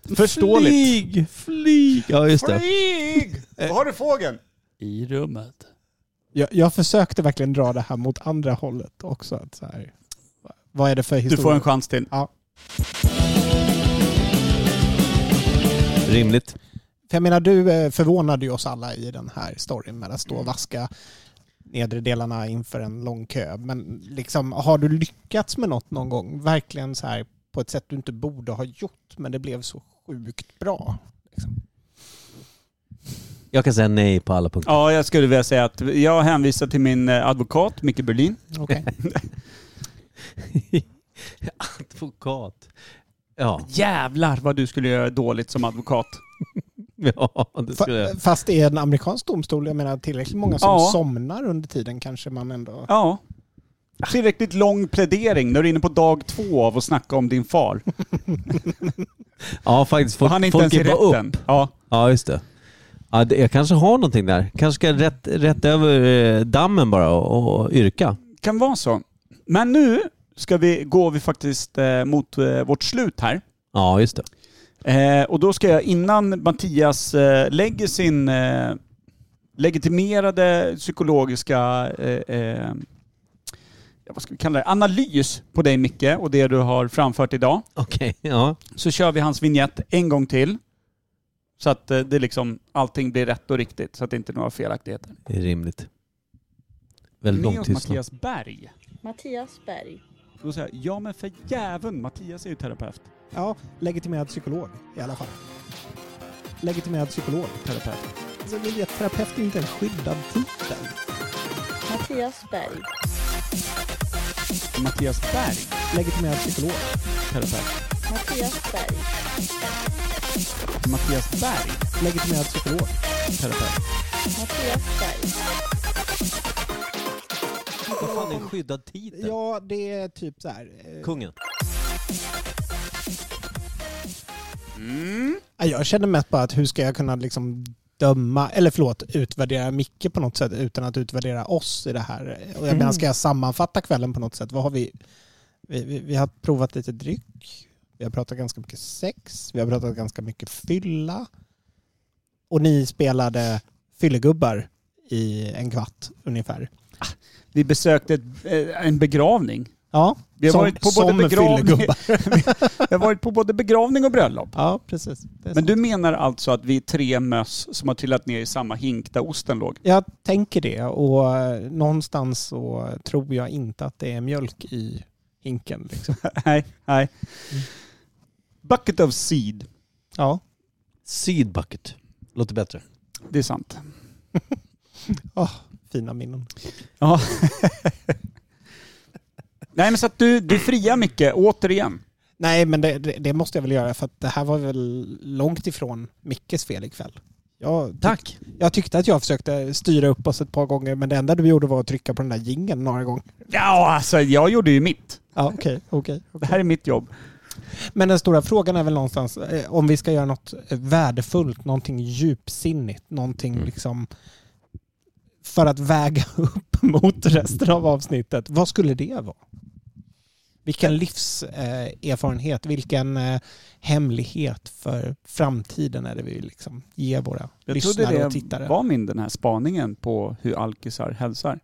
[SPEAKER 2] ja. Förståeligt.
[SPEAKER 1] Flyg! Flyg! Ja just det.
[SPEAKER 2] Flyg! Var har du fågeln? I rummet.
[SPEAKER 3] Jag, jag försökte verkligen dra det här mot andra hållet också. Att så här, vad är det för
[SPEAKER 2] Du
[SPEAKER 3] historia?
[SPEAKER 2] får en chans till.
[SPEAKER 3] Ja.
[SPEAKER 1] Rimligt.
[SPEAKER 3] För jag menar, du eh, förvånade ju oss alla i den här storyn med att stå
[SPEAKER 2] Mm.
[SPEAKER 3] och vaska nedre delarna inför en lång kö. Men liksom, har du lyckats med något någon gång? Verkligen så här på ett sätt du inte borde ha gjort, men det blev så sjukt bra.
[SPEAKER 1] Jag kan säga nej på alla punkter.
[SPEAKER 2] Ja, jag skulle vilja säga att jag hänvisar till min eh, advokat, Micke Berlin.
[SPEAKER 3] Okej.
[SPEAKER 1] Advokat. Ja,
[SPEAKER 2] Jävlar vad du skulle göra dåligt som advokat.
[SPEAKER 1] ja det skulle jag.
[SPEAKER 3] Fa- Fast i en amerikansk domstol, jag menar tillräckligt många som
[SPEAKER 2] Ja.
[SPEAKER 3] somnar under tiden kanske man ändå...
[SPEAKER 2] Ja. Tillräckligt lång plädering när du är inne på dag två av att snacka om din far.
[SPEAKER 1] Ja faktiskt.
[SPEAKER 2] Och
[SPEAKER 1] Folk,
[SPEAKER 2] han är inte
[SPEAKER 1] folk är
[SPEAKER 2] ens i
[SPEAKER 1] bara
[SPEAKER 2] rätten.
[SPEAKER 1] upp.
[SPEAKER 2] Ja.
[SPEAKER 1] Ja just det. Ja, det. Jag kanske har någonting där. Kanske ska jag rätt, rätt över eh, dammen bara och, och yrka.
[SPEAKER 2] kan vara så. Men nu ska vi, går vi faktiskt eh, mot eh, vårt slut här.
[SPEAKER 1] Ja just det.
[SPEAKER 2] Eh, och då ska jag innan Mattias eh, lägger sin eh, legitimerade psykologiska eh, eh, vad ska vi kalla det, analys på dig Micke och det du har framfört idag.
[SPEAKER 1] Okej, ja.
[SPEAKER 2] Så kör vi hans vignett en gång till. Så att eh, det liksom, allting blir rätt och riktigt, så att det inte är några felaktigheter.
[SPEAKER 1] Det är rimligt. Väldigt
[SPEAKER 2] Med
[SPEAKER 1] lång
[SPEAKER 2] oss
[SPEAKER 1] tystnad.
[SPEAKER 2] Mattias Berg.
[SPEAKER 9] Mattias Berg.
[SPEAKER 2] Då säger jag, ja men för jäveln, Mattias är ju terapeut.
[SPEAKER 3] Ja, legitimerad psykolog i alla fall. Legitimerad psykolog.
[SPEAKER 2] terapeut.
[SPEAKER 3] Alltså, det är terapeut är inte en skyddad titel.
[SPEAKER 9] Mattias Berg.
[SPEAKER 2] Mattias Berg,
[SPEAKER 3] Legitimerad psykolog.
[SPEAKER 2] terapeut.
[SPEAKER 9] Mattias Berg.
[SPEAKER 2] Mattias Berg,
[SPEAKER 3] Legitimerad psykolog.
[SPEAKER 2] terapeut.
[SPEAKER 9] Mattias Berg.
[SPEAKER 1] Vad fan är en skyddad titel?
[SPEAKER 3] Ja, det är typ så här. eh,
[SPEAKER 1] Kungen.
[SPEAKER 3] Ja, Jag känner mest bara att hur ska jag kunna liksom döma, eller förlåt, utvärdera Micke på något sätt utan att utvärdera oss i det här. Och jag
[SPEAKER 2] Mm.
[SPEAKER 3] menar, ska jag sammanfatta kvällen på något sätt? Vad har vi? Vi, vi, vi har provat lite dryck, vi har pratat ganska mycket sex, vi har pratat ganska mycket fylla. Och ni spelade fyllegubbar i en kvart ungefär.
[SPEAKER 2] Vi besökte ett, eh, en begravning.
[SPEAKER 3] Ja,
[SPEAKER 2] Vi har
[SPEAKER 3] som,
[SPEAKER 2] varit på både
[SPEAKER 3] som
[SPEAKER 2] begravning-
[SPEAKER 3] fyllegubbar.
[SPEAKER 2] Jag har varit på både begravning och bröllop.
[SPEAKER 3] Ja, precis. Det
[SPEAKER 2] Men
[SPEAKER 3] är sant.
[SPEAKER 2] du menar alltså att vi är tre möss som har trillat ner i samma hink där osten låg?
[SPEAKER 3] Jag tänker det och eh, någonstans så tror jag inte att det är mjölk i hinken. Liksom.
[SPEAKER 2] nej, nej. Bucket of seed.
[SPEAKER 3] Ja,
[SPEAKER 1] Sydbucket. Låter bättre.
[SPEAKER 2] Det är sant.
[SPEAKER 3] fina minnen.
[SPEAKER 2] Ja. nej men så att du, du friar mycket, återigen.
[SPEAKER 3] Nej, men det, det det måste jag väl göra för att det här var väl långt ifrån Mickes fel ikväll. Jag,
[SPEAKER 1] Tack.
[SPEAKER 3] jag tyckte att jag försökte styra upp oss ett par gånger men det enda du gjorde var att trycka på den där jingeln några gånger.
[SPEAKER 2] Ja, alltså jag gjorde ju mitt.
[SPEAKER 3] Ja, okej. okej.
[SPEAKER 2] Det här är mitt jobb.
[SPEAKER 3] Men den stora frågan är väl någonstans eh, om vi ska göra något eh, värdefullt, någonting djupsinnigt, någonting
[SPEAKER 2] Mm.
[SPEAKER 3] liksom för att väga upp mot resten av avsnittet. Vad skulle det vara? Vilken livserfarenhet, eh, erfarenhet, vilken eh, hemlighet för framtiden är det vi vill liksom ge våra
[SPEAKER 2] Jag
[SPEAKER 3] lyssnare
[SPEAKER 2] trodde
[SPEAKER 3] och
[SPEAKER 2] det
[SPEAKER 3] tittare?
[SPEAKER 2] var min den här spaningen på hur alkisar hälsar.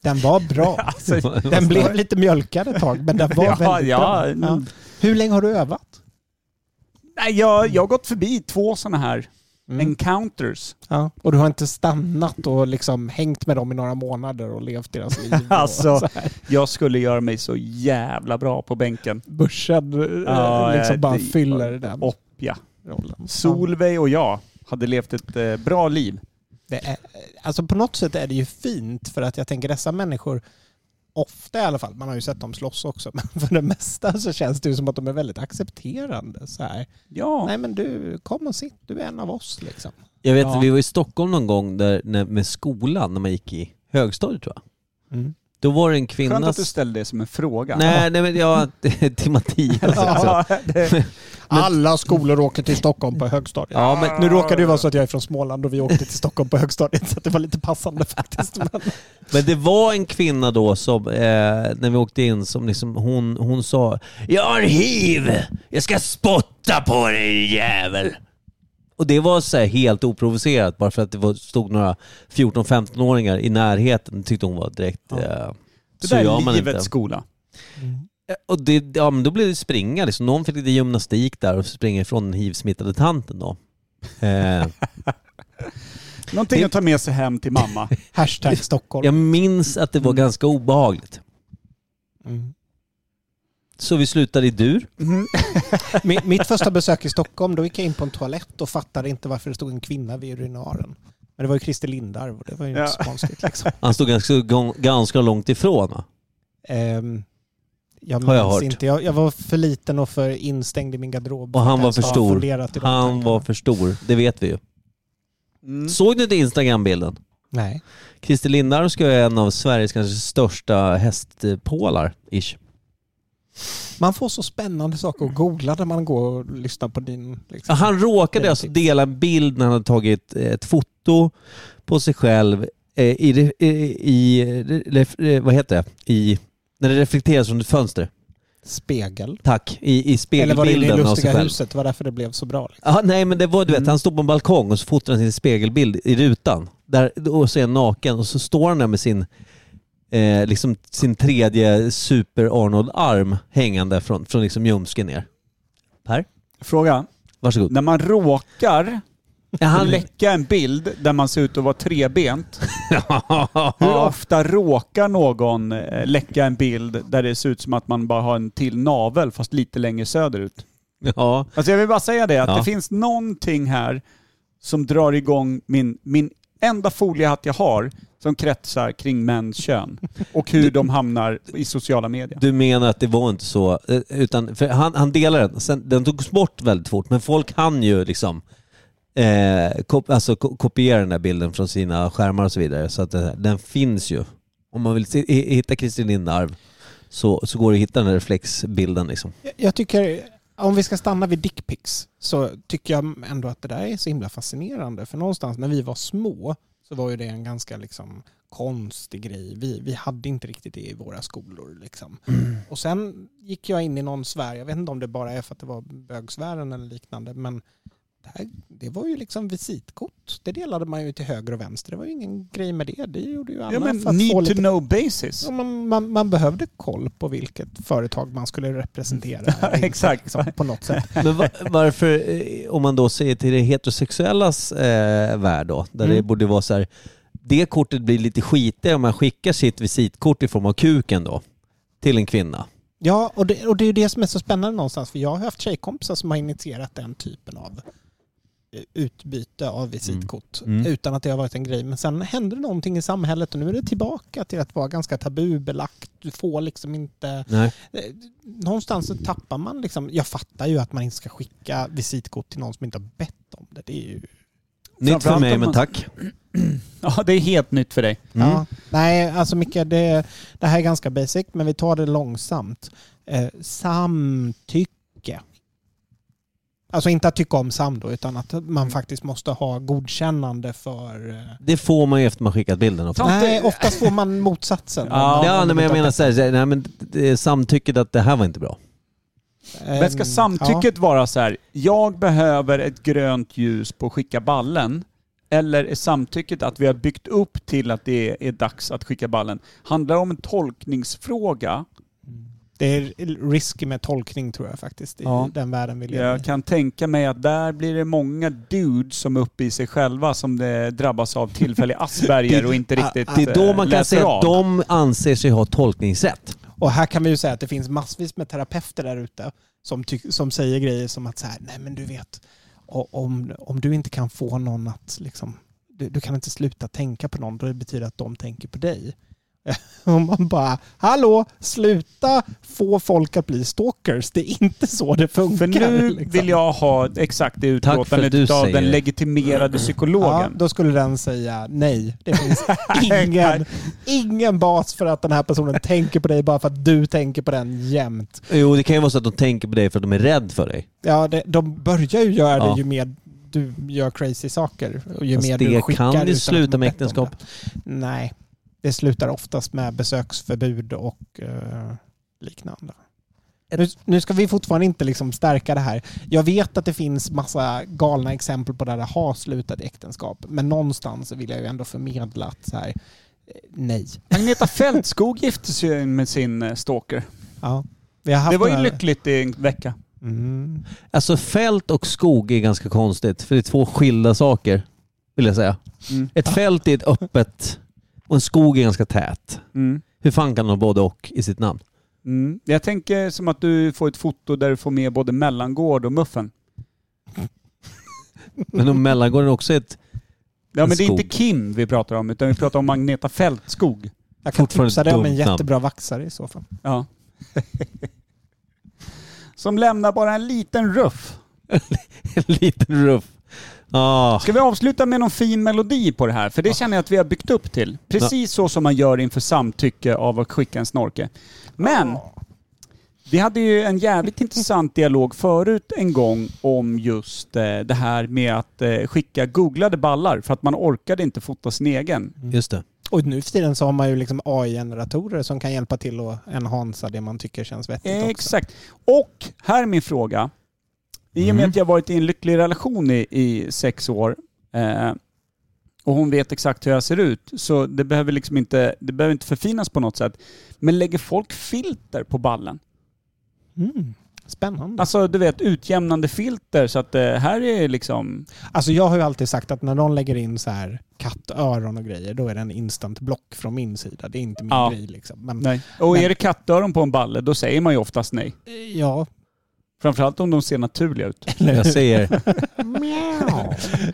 [SPEAKER 3] Den var bra.
[SPEAKER 2] Alltså,
[SPEAKER 3] Den blev lite mjölkad ett tag, men den var
[SPEAKER 2] Ja,
[SPEAKER 3] väldigt
[SPEAKER 2] ja,
[SPEAKER 3] bra. Ja.
[SPEAKER 2] mm.
[SPEAKER 3] Hur länge har du övat?
[SPEAKER 2] nej, jag, jag har gått förbi två sådana här
[SPEAKER 3] Mm.
[SPEAKER 2] encounters.
[SPEAKER 3] Ja, och du har inte stannat och liksom hängt med dem i några månader och levt deras liv. och
[SPEAKER 2] Alltså.
[SPEAKER 3] så här.
[SPEAKER 2] Jag skulle göra mig så jävla bra på bänken.
[SPEAKER 3] Börsen eh,
[SPEAKER 2] Ja,
[SPEAKER 3] liksom
[SPEAKER 2] eh,
[SPEAKER 3] bara
[SPEAKER 2] det-
[SPEAKER 3] fyller den
[SPEAKER 2] och- Ja.
[SPEAKER 3] rollen.
[SPEAKER 2] Solveig och jag hade levt ett eh, bra liv.
[SPEAKER 3] Det är, alltså på något sätt är det ju fint för att jag tänker dessa människor, ofta i alla fall, man har ju sett dem slåss också, men för det mesta så känns det ju som att de är väldigt accepterande. Så här.
[SPEAKER 2] Ja.
[SPEAKER 3] Nej men du, kom och sitt, du är en av oss liksom.
[SPEAKER 1] Jag vet,
[SPEAKER 2] Ja.
[SPEAKER 1] vi var i Stockholm någon gång där, när, med skolan när man gick i högstadiet tror jag.
[SPEAKER 3] Mm.
[SPEAKER 1] Då var det en kvinna...
[SPEAKER 2] Skönt att du
[SPEAKER 1] s-
[SPEAKER 2] ställde det som en fråga.
[SPEAKER 1] Nej, nej men jag... till Mattias också.
[SPEAKER 2] Ja, det,
[SPEAKER 3] Alla skolor åker till Stockholm på högstadiet.
[SPEAKER 1] Ja, men
[SPEAKER 3] Nu råkar det ju vara så att jag är från Småland och vi åkte till Stockholm på högstadiet så att det var lite passande faktiskt. Men,
[SPEAKER 1] Men det var en kvinna då som, eh, när vi åkte in, som liksom, hon, hon sa Jag har hiv! Jag ska spotta på dig din jävel! Och det var så här helt oprovocerat bara för att det var, stod några 14-15-åringar i närheten tyckte hon var direkt...
[SPEAKER 2] Ja.
[SPEAKER 1] Eh,
[SPEAKER 2] det
[SPEAKER 1] så
[SPEAKER 2] där
[SPEAKER 1] gör
[SPEAKER 2] är
[SPEAKER 1] man
[SPEAKER 2] livets
[SPEAKER 1] inte.
[SPEAKER 2] skola.
[SPEAKER 3] Mm.
[SPEAKER 1] Och det, ja, men då blev det springa liksom. Någon fick lite gymnastik där och springa ifrån den hivsmittade tanten då. Eh,
[SPEAKER 2] Någonting
[SPEAKER 1] Det-
[SPEAKER 2] att ta med sig hem till mamma.
[SPEAKER 3] hashtag Stockholm.
[SPEAKER 1] jag minns att det var ganska obehagligt.
[SPEAKER 3] Mm.
[SPEAKER 1] Så vi slutade i dur.
[SPEAKER 2] Mm.
[SPEAKER 3] Mi- Mitt första besök i Stockholm, då gick jag in på en toalett och fattade inte varför det stod en kvinna vid urinaren. Men det var ju Christer Lindarw och det var ju inte
[SPEAKER 2] Ja.
[SPEAKER 3] så konstigt. Liksom.
[SPEAKER 1] Han stod ganska, ganska långt ifrån va?
[SPEAKER 3] Ehm, jag
[SPEAKER 1] Har jag
[SPEAKER 3] minns
[SPEAKER 1] hört.
[SPEAKER 3] inte. Jag, jag var för liten och för instängd i min garderob.
[SPEAKER 1] Och han var
[SPEAKER 3] Jag
[SPEAKER 1] för
[SPEAKER 3] har
[SPEAKER 1] stor.
[SPEAKER 3] funderat i de
[SPEAKER 1] Han
[SPEAKER 3] tankarna.
[SPEAKER 1] var för stor, det vet vi ju.
[SPEAKER 3] Mm.
[SPEAKER 2] Mm.
[SPEAKER 1] Såg ni inte Instagram-bilden?
[SPEAKER 3] Nej.
[SPEAKER 1] Christer Lindarw ska vara en av Sveriges kanske största hästpålar, ish.
[SPEAKER 3] Man får så spännande saker att googla när man går och lyssnar på din... Liksom.
[SPEAKER 1] Han råkade alltså dela en bild när han hade tagit eh, ett foto på sig själv eh, i, re- eh, i, eh, ref- eh, vad heter det? I, när det reflekteras från ett fönster.
[SPEAKER 3] Spegel.
[SPEAKER 1] Tack. I, i
[SPEAKER 3] Eller var det i det
[SPEAKER 1] spegelbilden av sig
[SPEAKER 3] lustiga
[SPEAKER 1] själv.
[SPEAKER 3] huset? Det var därför det blev så bra. Liksom.
[SPEAKER 1] Ja, nej men det var, du vet, han stod på en balkong och så fotade han sin spegelbild i rutan. Där, och så är han naken och så står han där med sin eh, liksom sin tredje super-Arnold-arm hängande från, från liksom ljumsken ner. Per,
[SPEAKER 2] Fråga.
[SPEAKER 1] varsågod.
[SPEAKER 2] När man råkar
[SPEAKER 1] Ja, han...
[SPEAKER 2] läcka en bild där man ser ut att vara trebent. Hur ofta råkar någon eh, läcka en bild där det ser ut som att man bara har en till navel fast lite längre söderut?
[SPEAKER 1] ja.
[SPEAKER 2] Alltså jag vill bara säga det, att
[SPEAKER 1] Ja.
[SPEAKER 2] det finns någonting här som drar igång min, min enda foliehatt jag har som kretsar kring mäns kön och hur de hamnar i sociala medier.
[SPEAKER 1] Du menar att det var inte så, eh, utan för han, han delade den. Sen, den togs bort väldigt fort, men folk hann ju liksom eh, kop, alltså, ko- kopiera den där bilden från sina skärmar och så vidare. Så att den, den finns ju. Om man vill se, i- hitta Kristin Lindarw så, så går det att hitta den där reflexbilden liksom.
[SPEAKER 3] Jag- Jag tycker, om vi ska stanna vid dickpics, så tycker jag ändå att det där är så himla fascinerande. För någonstans när vi var små så var ju det en ganska liksom konstig grej. Vi, vi hade inte riktigt det i våra skolor. Liksom.
[SPEAKER 1] Mm.
[SPEAKER 3] Och sen gick jag in i någon sfär, jag vet inte om det bara är för att det var bögsfären eller liknande, men det, här, det var ju liksom visitkort. Det delade man ju till höger och vänster. Det var ju ingen grej med det. Det gjorde ju alla
[SPEAKER 2] Ja men
[SPEAKER 3] för att få
[SPEAKER 2] need to
[SPEAKER 3] lite
[SPEAKER 2] know basis.
[SPEAKER 3] Ja, man, man, man behövde koll på vilket företag man skulle representera.
[SPEAKER 2] Exakt.
[SPEAKER 3] Liksom, på något sätt.
[SPEAKER 1] Men va- varför, eh, om man då ser till det heterosexuellas eh, värld då, där det
[SPEAKER 3] Mm.
[SPEAKER 1] borde vara så här, det kortet blir lite skitigt om man skickar sitt visitkort i form av kuken då, till en kvinna.
[SPEAKER 3] Ja, och det, och det är ju det som är så spännande någonstans. För jag har haft tjejkompisar som har initierat den typen av eh, utbyte av visitkort
[SPEAKER 1] Mm. Mm.
[SPEAKER 3] utan att det har varit en grej. Men sen hände det någonting i samhället och nu är det tillbaka till att vara ganska tabubelagt. Du får liksom inte...
[SPEAKER 1] Nej.
[SPEAKER 3] eh, Någonstans så tappar man liksom... Jag fattar ju att man inte ska skicka visitkort till någon som inte har bett om det. Det är ju
[SPEAKER 1] Nytt för
[SPEAKER 2] Framförallt
[SPEAKER 1] mig,
[SPEAKER 2] om
[SPEAKER 1] men
[SPEAKER 2] man-
[SPEAKER 1] tack.
[SPEAKER 2] Ja det är helt nytt för dig.
[SPEAKER 1] Mm.
[SPEAKER 3] Ja, nej, alltså Micke, det, det här är ganska basic, men vi tar det långsamt. Eh, samtycke. Alltså inte att tycka om sam då, utan att
[SPEAKER 1] Mm.
[SPEAKER 3] man faktiskt måste ha godkännande för... eh,
[SPEAKER 1] Det får man ju efter man skickat bilden. Ofta.
[SPEAKER 2] Ja,
[SPEAKER 3] Nej,
[SPEAKER 2] det-
[SPEAKER 3] oftast får man motsatsen.
[SPEAKER 1] Ja,
[SPEAKER 2] Ja,
[SPEAKER 1] nej, men jag menar så här, så här, nej, men det är samtycket att det här var inte bra.
[SPEAKER 3] Eh,
[SPEAKER 1] Ehm,
[SPEAKER 2] Men ska samtycket vara så här, jag behöver ett grönt ljus på att skicka ballen. Eller är samtycket att vi har byggt upp till att det är dags att skicka ballen? Handlar det om en tolkningsfråga?
[SPEAKER 3] Det är risky med tolkning tror jag faktiskt, i
[SPEAKER 2] Ja.
[SPEAKER 3] den världen vi lever i.
[SPEAKER 2] Jag kan tänka mig att där blir det många dudes som är uppe i sig själva som det drabbas av tillfällig Asperger och inte riktigt
[SPEAKER 3] Alltså,
[SPEAKER 1] Det är då
[SPEAKER 2] eh,
[SPEAKER 1] man kan
[SPEAKER 2] läser
[SPEAKER 1] säga att
[SPEAKER 2] av.
[SPEAKER 1] de anser sig ha tolkningsrätt.
[SPEAKER 3] Och här kan vi ju säga att det finns massvis med terapeuter där ute som, ty- som säger grejer som att så här, nej men du vet, o- om, om du inte kan få någon att liksom, du, du kan inte sluta tänka på någon, då det betyder att de tänker på dig. Och man bara, hallå, sluta få folk att bli stalkers. Det är inte så det funkar.
[SPEAKER 2] För nu
[SPEAKER 3] liksom.
[SPEAKER 2] vill jag ha exakt det
[SPEAKER 1] Tack för att du
[SPEAKER 2] utlåtandet av
[SPEAKER 1] säger
[SPEAKER 2] den
[SPEAKER 1] det.
[SPEAKER 2] legitimerade
[SPEAKER 3] Ja,
[SPEAKER 2] psykologen.
[SPEAKER 3] då skulle den säga nej. Det finns ingen, ingen bas för att den här personen tänker på dig bara för att du tänker på den jämt.
[SPEAKER 1] Jo, det kan ju vara så att de tänker på dig för att de är rädda för dig.
[SPEAKER 3] Ja, det, de börjar ju göra
[SPEAKER 1] Ja.
[SPEAKER 3] det ju mer du gör crazy saker. Och ju
[SPEAKER 1] Fast
[SPEAKER 3] mer
[SPEAKER 1] det
[SPEAKER 3] du
[SPEAKER 1] kan
[SPEAKER 3] skickar
[SPEAKER 1] ju
[SPEAKER 3] utan att
[SPEAKER 1] sluta
[SPEAKER 3] de har
[SPEAKER 1] med
[SPEAKER 3] bett om
[SPEAKER 1] äktenskap.
[SPEAKER 3] det. Nej, det slutar oftast med besöksförbud och eh, liknande. Nu, nu ska vi fortfarande inte liksom stärka det här. Jag vet att det finns massa galna exempel på där det har slutat i äktenskap, men någonstans vill jag ju ändå förmedla att så här, eh, nej.
[SPEAKER 2] Agneta Fältskog gifte sig med sin eh, stalker.
[SPEAKER 3] Ja. Vi har haft
[SPEAKER 2] Det var ju
[SPEAKER 3] några-
[SPEAKER 2] lyckligt i en vecka.
[SPEAKER 3] Mm.
[SPEAKER 1] Alltså fält och skog är ganska konstigt, för det är två skilda saker, vill jag säga.
[SPEAKER 2] Mm.
[SPEAKER 1] Ett
[SPEAKER 3] Ah.
[SPEAKER 1] fält är ett öppet och en skog är ganska tät.
[SPEAKER 2] Mm.
[SPEAKER 1] Hur fan kan de ha både och i sitt namn?
[SPEAKER 2] Mm. Jag tänker som att du får ett foto där du får med både mellangård och muffen.
[SPEAKER 1] Men om mellangården också är ett...
[SPEAKER 2] Ja
[SPEAKER 1] En
[SPEAKER 2] men det är
[SPEAKER 1] skog.
[SPEAKER 2] inte Kim vi pratar om utan vi pratar om Agneta Fältskog.
[SPEAKER 3] Jag kan
[SPEAKER 1] Fortfarande
[SPEAKER 3] tipsa dig om en
[SPEAKER 1] dumt namn.
[SPEAKER 3] jättebra vaxare i så fall.
[SPEAKER 2] Ja. Som lämnar bara en liten ruff.
[SPEAKER 1] en liten ruff. Ah,
[SPEAKER 2] Ska vi avsluta med någon fin melodi på det här? För det känner jag att vi har byggt upp till. Precis så som man gör inför samtycke av att skicka en snorke. Men vi hade ju en jävligt intressant dialog förut en gång om just eh, det här med att eh, skicka googlade ballar för att man orkade inte fota sin egen.
[SPEAKER 3] Mm.
[SPEAKER 1] just det.
[SPEAKER 3] Och nu för tiden så har man ju liksom AI-generatorer som kan hjälpa till att enhansa det man tycker känns vettigt också.
[SPEAKER 2] Exakt. Och här är min fråga. Mm. I och med att jag varit i en lycklig relation i, i sex år eh, och hon vet exakt hur jag ser ut. Så det behöver liksom inte, det behöver inte förfinas på något sätt. Men lägger folk filter på ballen?
[SPEAKER 3] Mm. Spännande.
[SPEAKER 2] Alltså du vet utjämnande filter så att det här är liksom...
[SPEAKER 3] Alltså jag har ju alltid sagt att när någon lägger in så här kattöron och grejer, då är det en instant block från min sida. Det är inte min
[SPEAKER 2] Ja.
[SPEAKER 3] grej liksom. Men
[SPEAKER 2] Nej. Och
[SPEAKER 3] Men-
[SPEAKER 2] är det kattöron på en balle då säger man ju oftast nej.
[SPEAKER 3] eh, ja,
[SPEAKER 2] Framförallt om de ser naturliga ut.
[SPEAKER 1] Jag säger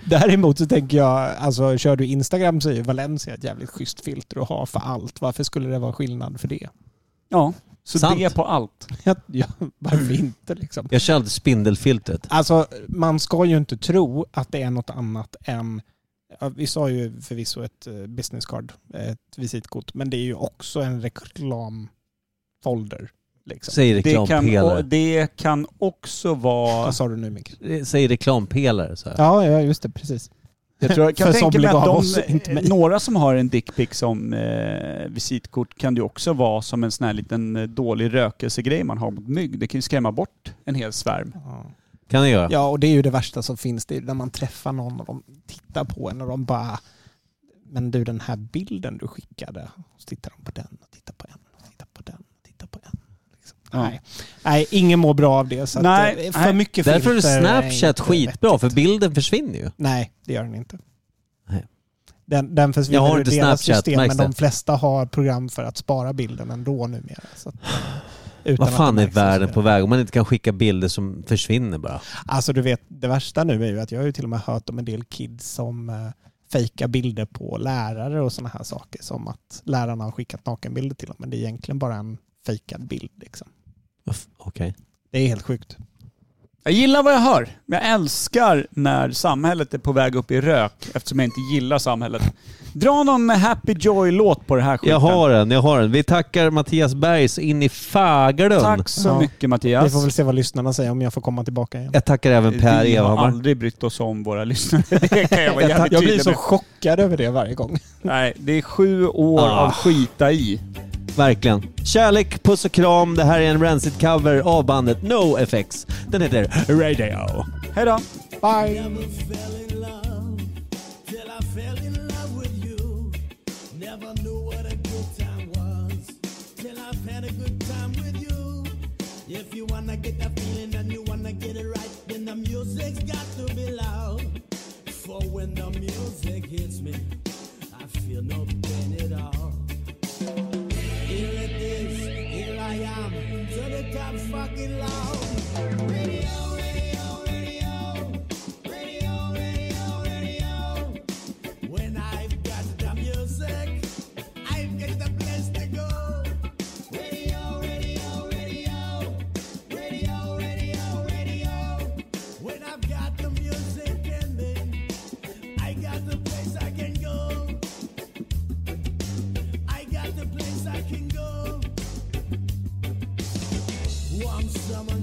[SPEAKER 3] Däremot så tänker jag, alltså kör du Instagram så är ju Valencia ett jävligt schysst filter att ha för allt. Varför skulle det vara skillnad för det?
[SPEAKER 2] Ja, så
[SPEAKER 1] Sant.
[SPEAKER 2] det på allt.
[SPEAKER 3] Ja, ja, varför inte liksom?
[SPEAKER 1] jag kände spindelfiltret.
[SPEAKER 3] Alltså man ska ju inte tro att det är något annat än Ja, vi sa ju förvisso ett eh, business card, ett visitkort, men det är ju också en reklamfolder. Liksom.
[SPEAKER 1] Säg
[SPEAKER 2] Det kan, och
[SPEAKER 1] reklampelare.
[SPEAKER 2] det kan också vara...
[SPEAKER 3] Vad sa du nu Micke?
[SPEAKER 1] Säg reklampelare så här.
[SPEAKER 3] Ja, ja just det, precis.
[SPEAKER 2] Jag tror, jag kan
[SPEAKER 3] För
[SPEAKER 2] tänka mig
[SPEAKER 3] somliga
[SPEAKER 2] att
[SPEAKER 3] av
[SPEAKER 2] de,
[SPEAKER 3] oss, inte mig.
[SPEAKER 2] några som har en dickpic som eh, visitkort kan det ju också vara som en sån här liten eh, dålig rökelsegrej man har mot mygg. Det kan ju skrämma bort en hel svärm.
[SPEAKER 1] Kan jag göra.
[SPEAKER 3] Ja, och det är ju det värsta som finns. Det är ju när man träffar någon och de tittar på en och de bara Men du, den här bilden du skickade. Och så tittar de på den och tittar på en och tittar på den och tittar på en. Liksom.
[SPEAKER 2] Ja.
[SPEAKER 3] Nej. Nej, ingen mår bra av det. Så att,
[SPEAKER 2] Nej,
[SPEAKER 3] eh, för
[SPEAKER 2] nej.
[SPEAKER 3] mycket
[SPEAKER 1] Därför är
[SPEAKER 3] filter är
[SPEAKER 1] Snapchat
[SPEAKER 3] inte
[SPEAKER 1] skitbra,
[SPEAKER 3] vettigt.
[SPEAKER 1] för bilden försvinner ju.
[SPEAKER 3] Nej, det gör den inte.
[SPEAKER 1] Nej.
[SPEAKER 3] Den, den försvinner
[SPEAKER 1] Jag har
[SPEAKER 3] ur
[SPEAKER 1] inte
[SPEAKER 3] deras
[SPEAKER 1] Snapchat,
[SPEAKER 3] system,
[SPEAKER 1] märks
[SPEAKER 3] men de
[SPEAKER 1] det?
[SPEAKER 3] flesta har program för att spara bilden ändå numera. Så att, eh, utan
[SPEAKER 1] Vad
[SPEAKER 3] att
[SPEAKER 1] fan
[SPEAKER 3] det
[SPEAKER 1] är
[SPEAKER 3] märks och så
[SPEAKER 1] världen
[SPEAKER 3] vidare.
[SPEAKER 1] på väg om man inte kan skicka bilder som försvinner bara?
[SPEAKER 3] Alltså du vet, det värsta nu är ju att jag har ju till och med hört om en del kids som eh, fejkar bilder på lärare och sådana här saker. Som att lärarna har skickat nakenbilder till dem, men det är egentligen bara en fejkad bild. Liksom.
[SPEAKER 1] Uff, Okej.
[SPEAKER 3] Det är helt sjukt.
[SPEAKER 2] Jag gillar vad jag hör. Jag älskar när samhället är på väg upp i rök eftersom jag inte gillar samhället. Dra någon Happy Joy-låt på det här skiten.
[SPEAKER 1] Jag har den, jag har den. Vi tackar Mattias Berg så in i fagelund.
[SPEAKER 2] Tack så
[SPEAKER 3] Ja.
[SPEAKER 2] mycket
[SPEAKER 3] Vi
[SPEAKER 2] Mattias.
[SPEAKER 3] får väl se vad lyssnarna säger om jag får komma tillbaka igen.
[SPEAKER 1] Jag tackar även Per
[SPEAKER 2] Vi har
[SPEAKER 1] Evhammar.
[SPEAKER 2] aldrig brytt oss om våra lyssnare. Det kan jag vara
[SPEAKER 3] Jag,
[SPEAKER 2] jävligt
[SPEAKER 3] jag blir
[SPEAKER 2] tydlig
[SPEAKER 3] så
[SPEAKER 2] med.
[SPEAKER 3] chockad över det varje gång.
[SPEAKER 2] Nej, det är sju år
[SPEAKER 1] Ah.
[SPEAKER 2] av skita i.
[SPEAKER 1] Verkligen. Kärlek, puss och kram. Det här är en Rancid-cover av bandet NoFX. Den heter Radio.
[SPEAKER 2] Hej då!
[SPEAKER 3] Bye!
[SPEAKER 4] Never fell in love till I fell in love with you. Never knew what a good time was till I've had a good time with you. If you wanna get that feeling and you wanna get it right, then the music's got to be loud. For when the music hits me, I feel no pain at all. Here it is, here I am, to the top fucking loud. Radio, radio, radio. Radio, radio, radio. When I've got the music, I've got the place to go. Radio, radio, radio. Radio, radio, radio. When I've got the music in me, I got the place I can go. I got the place I can go. Warm summer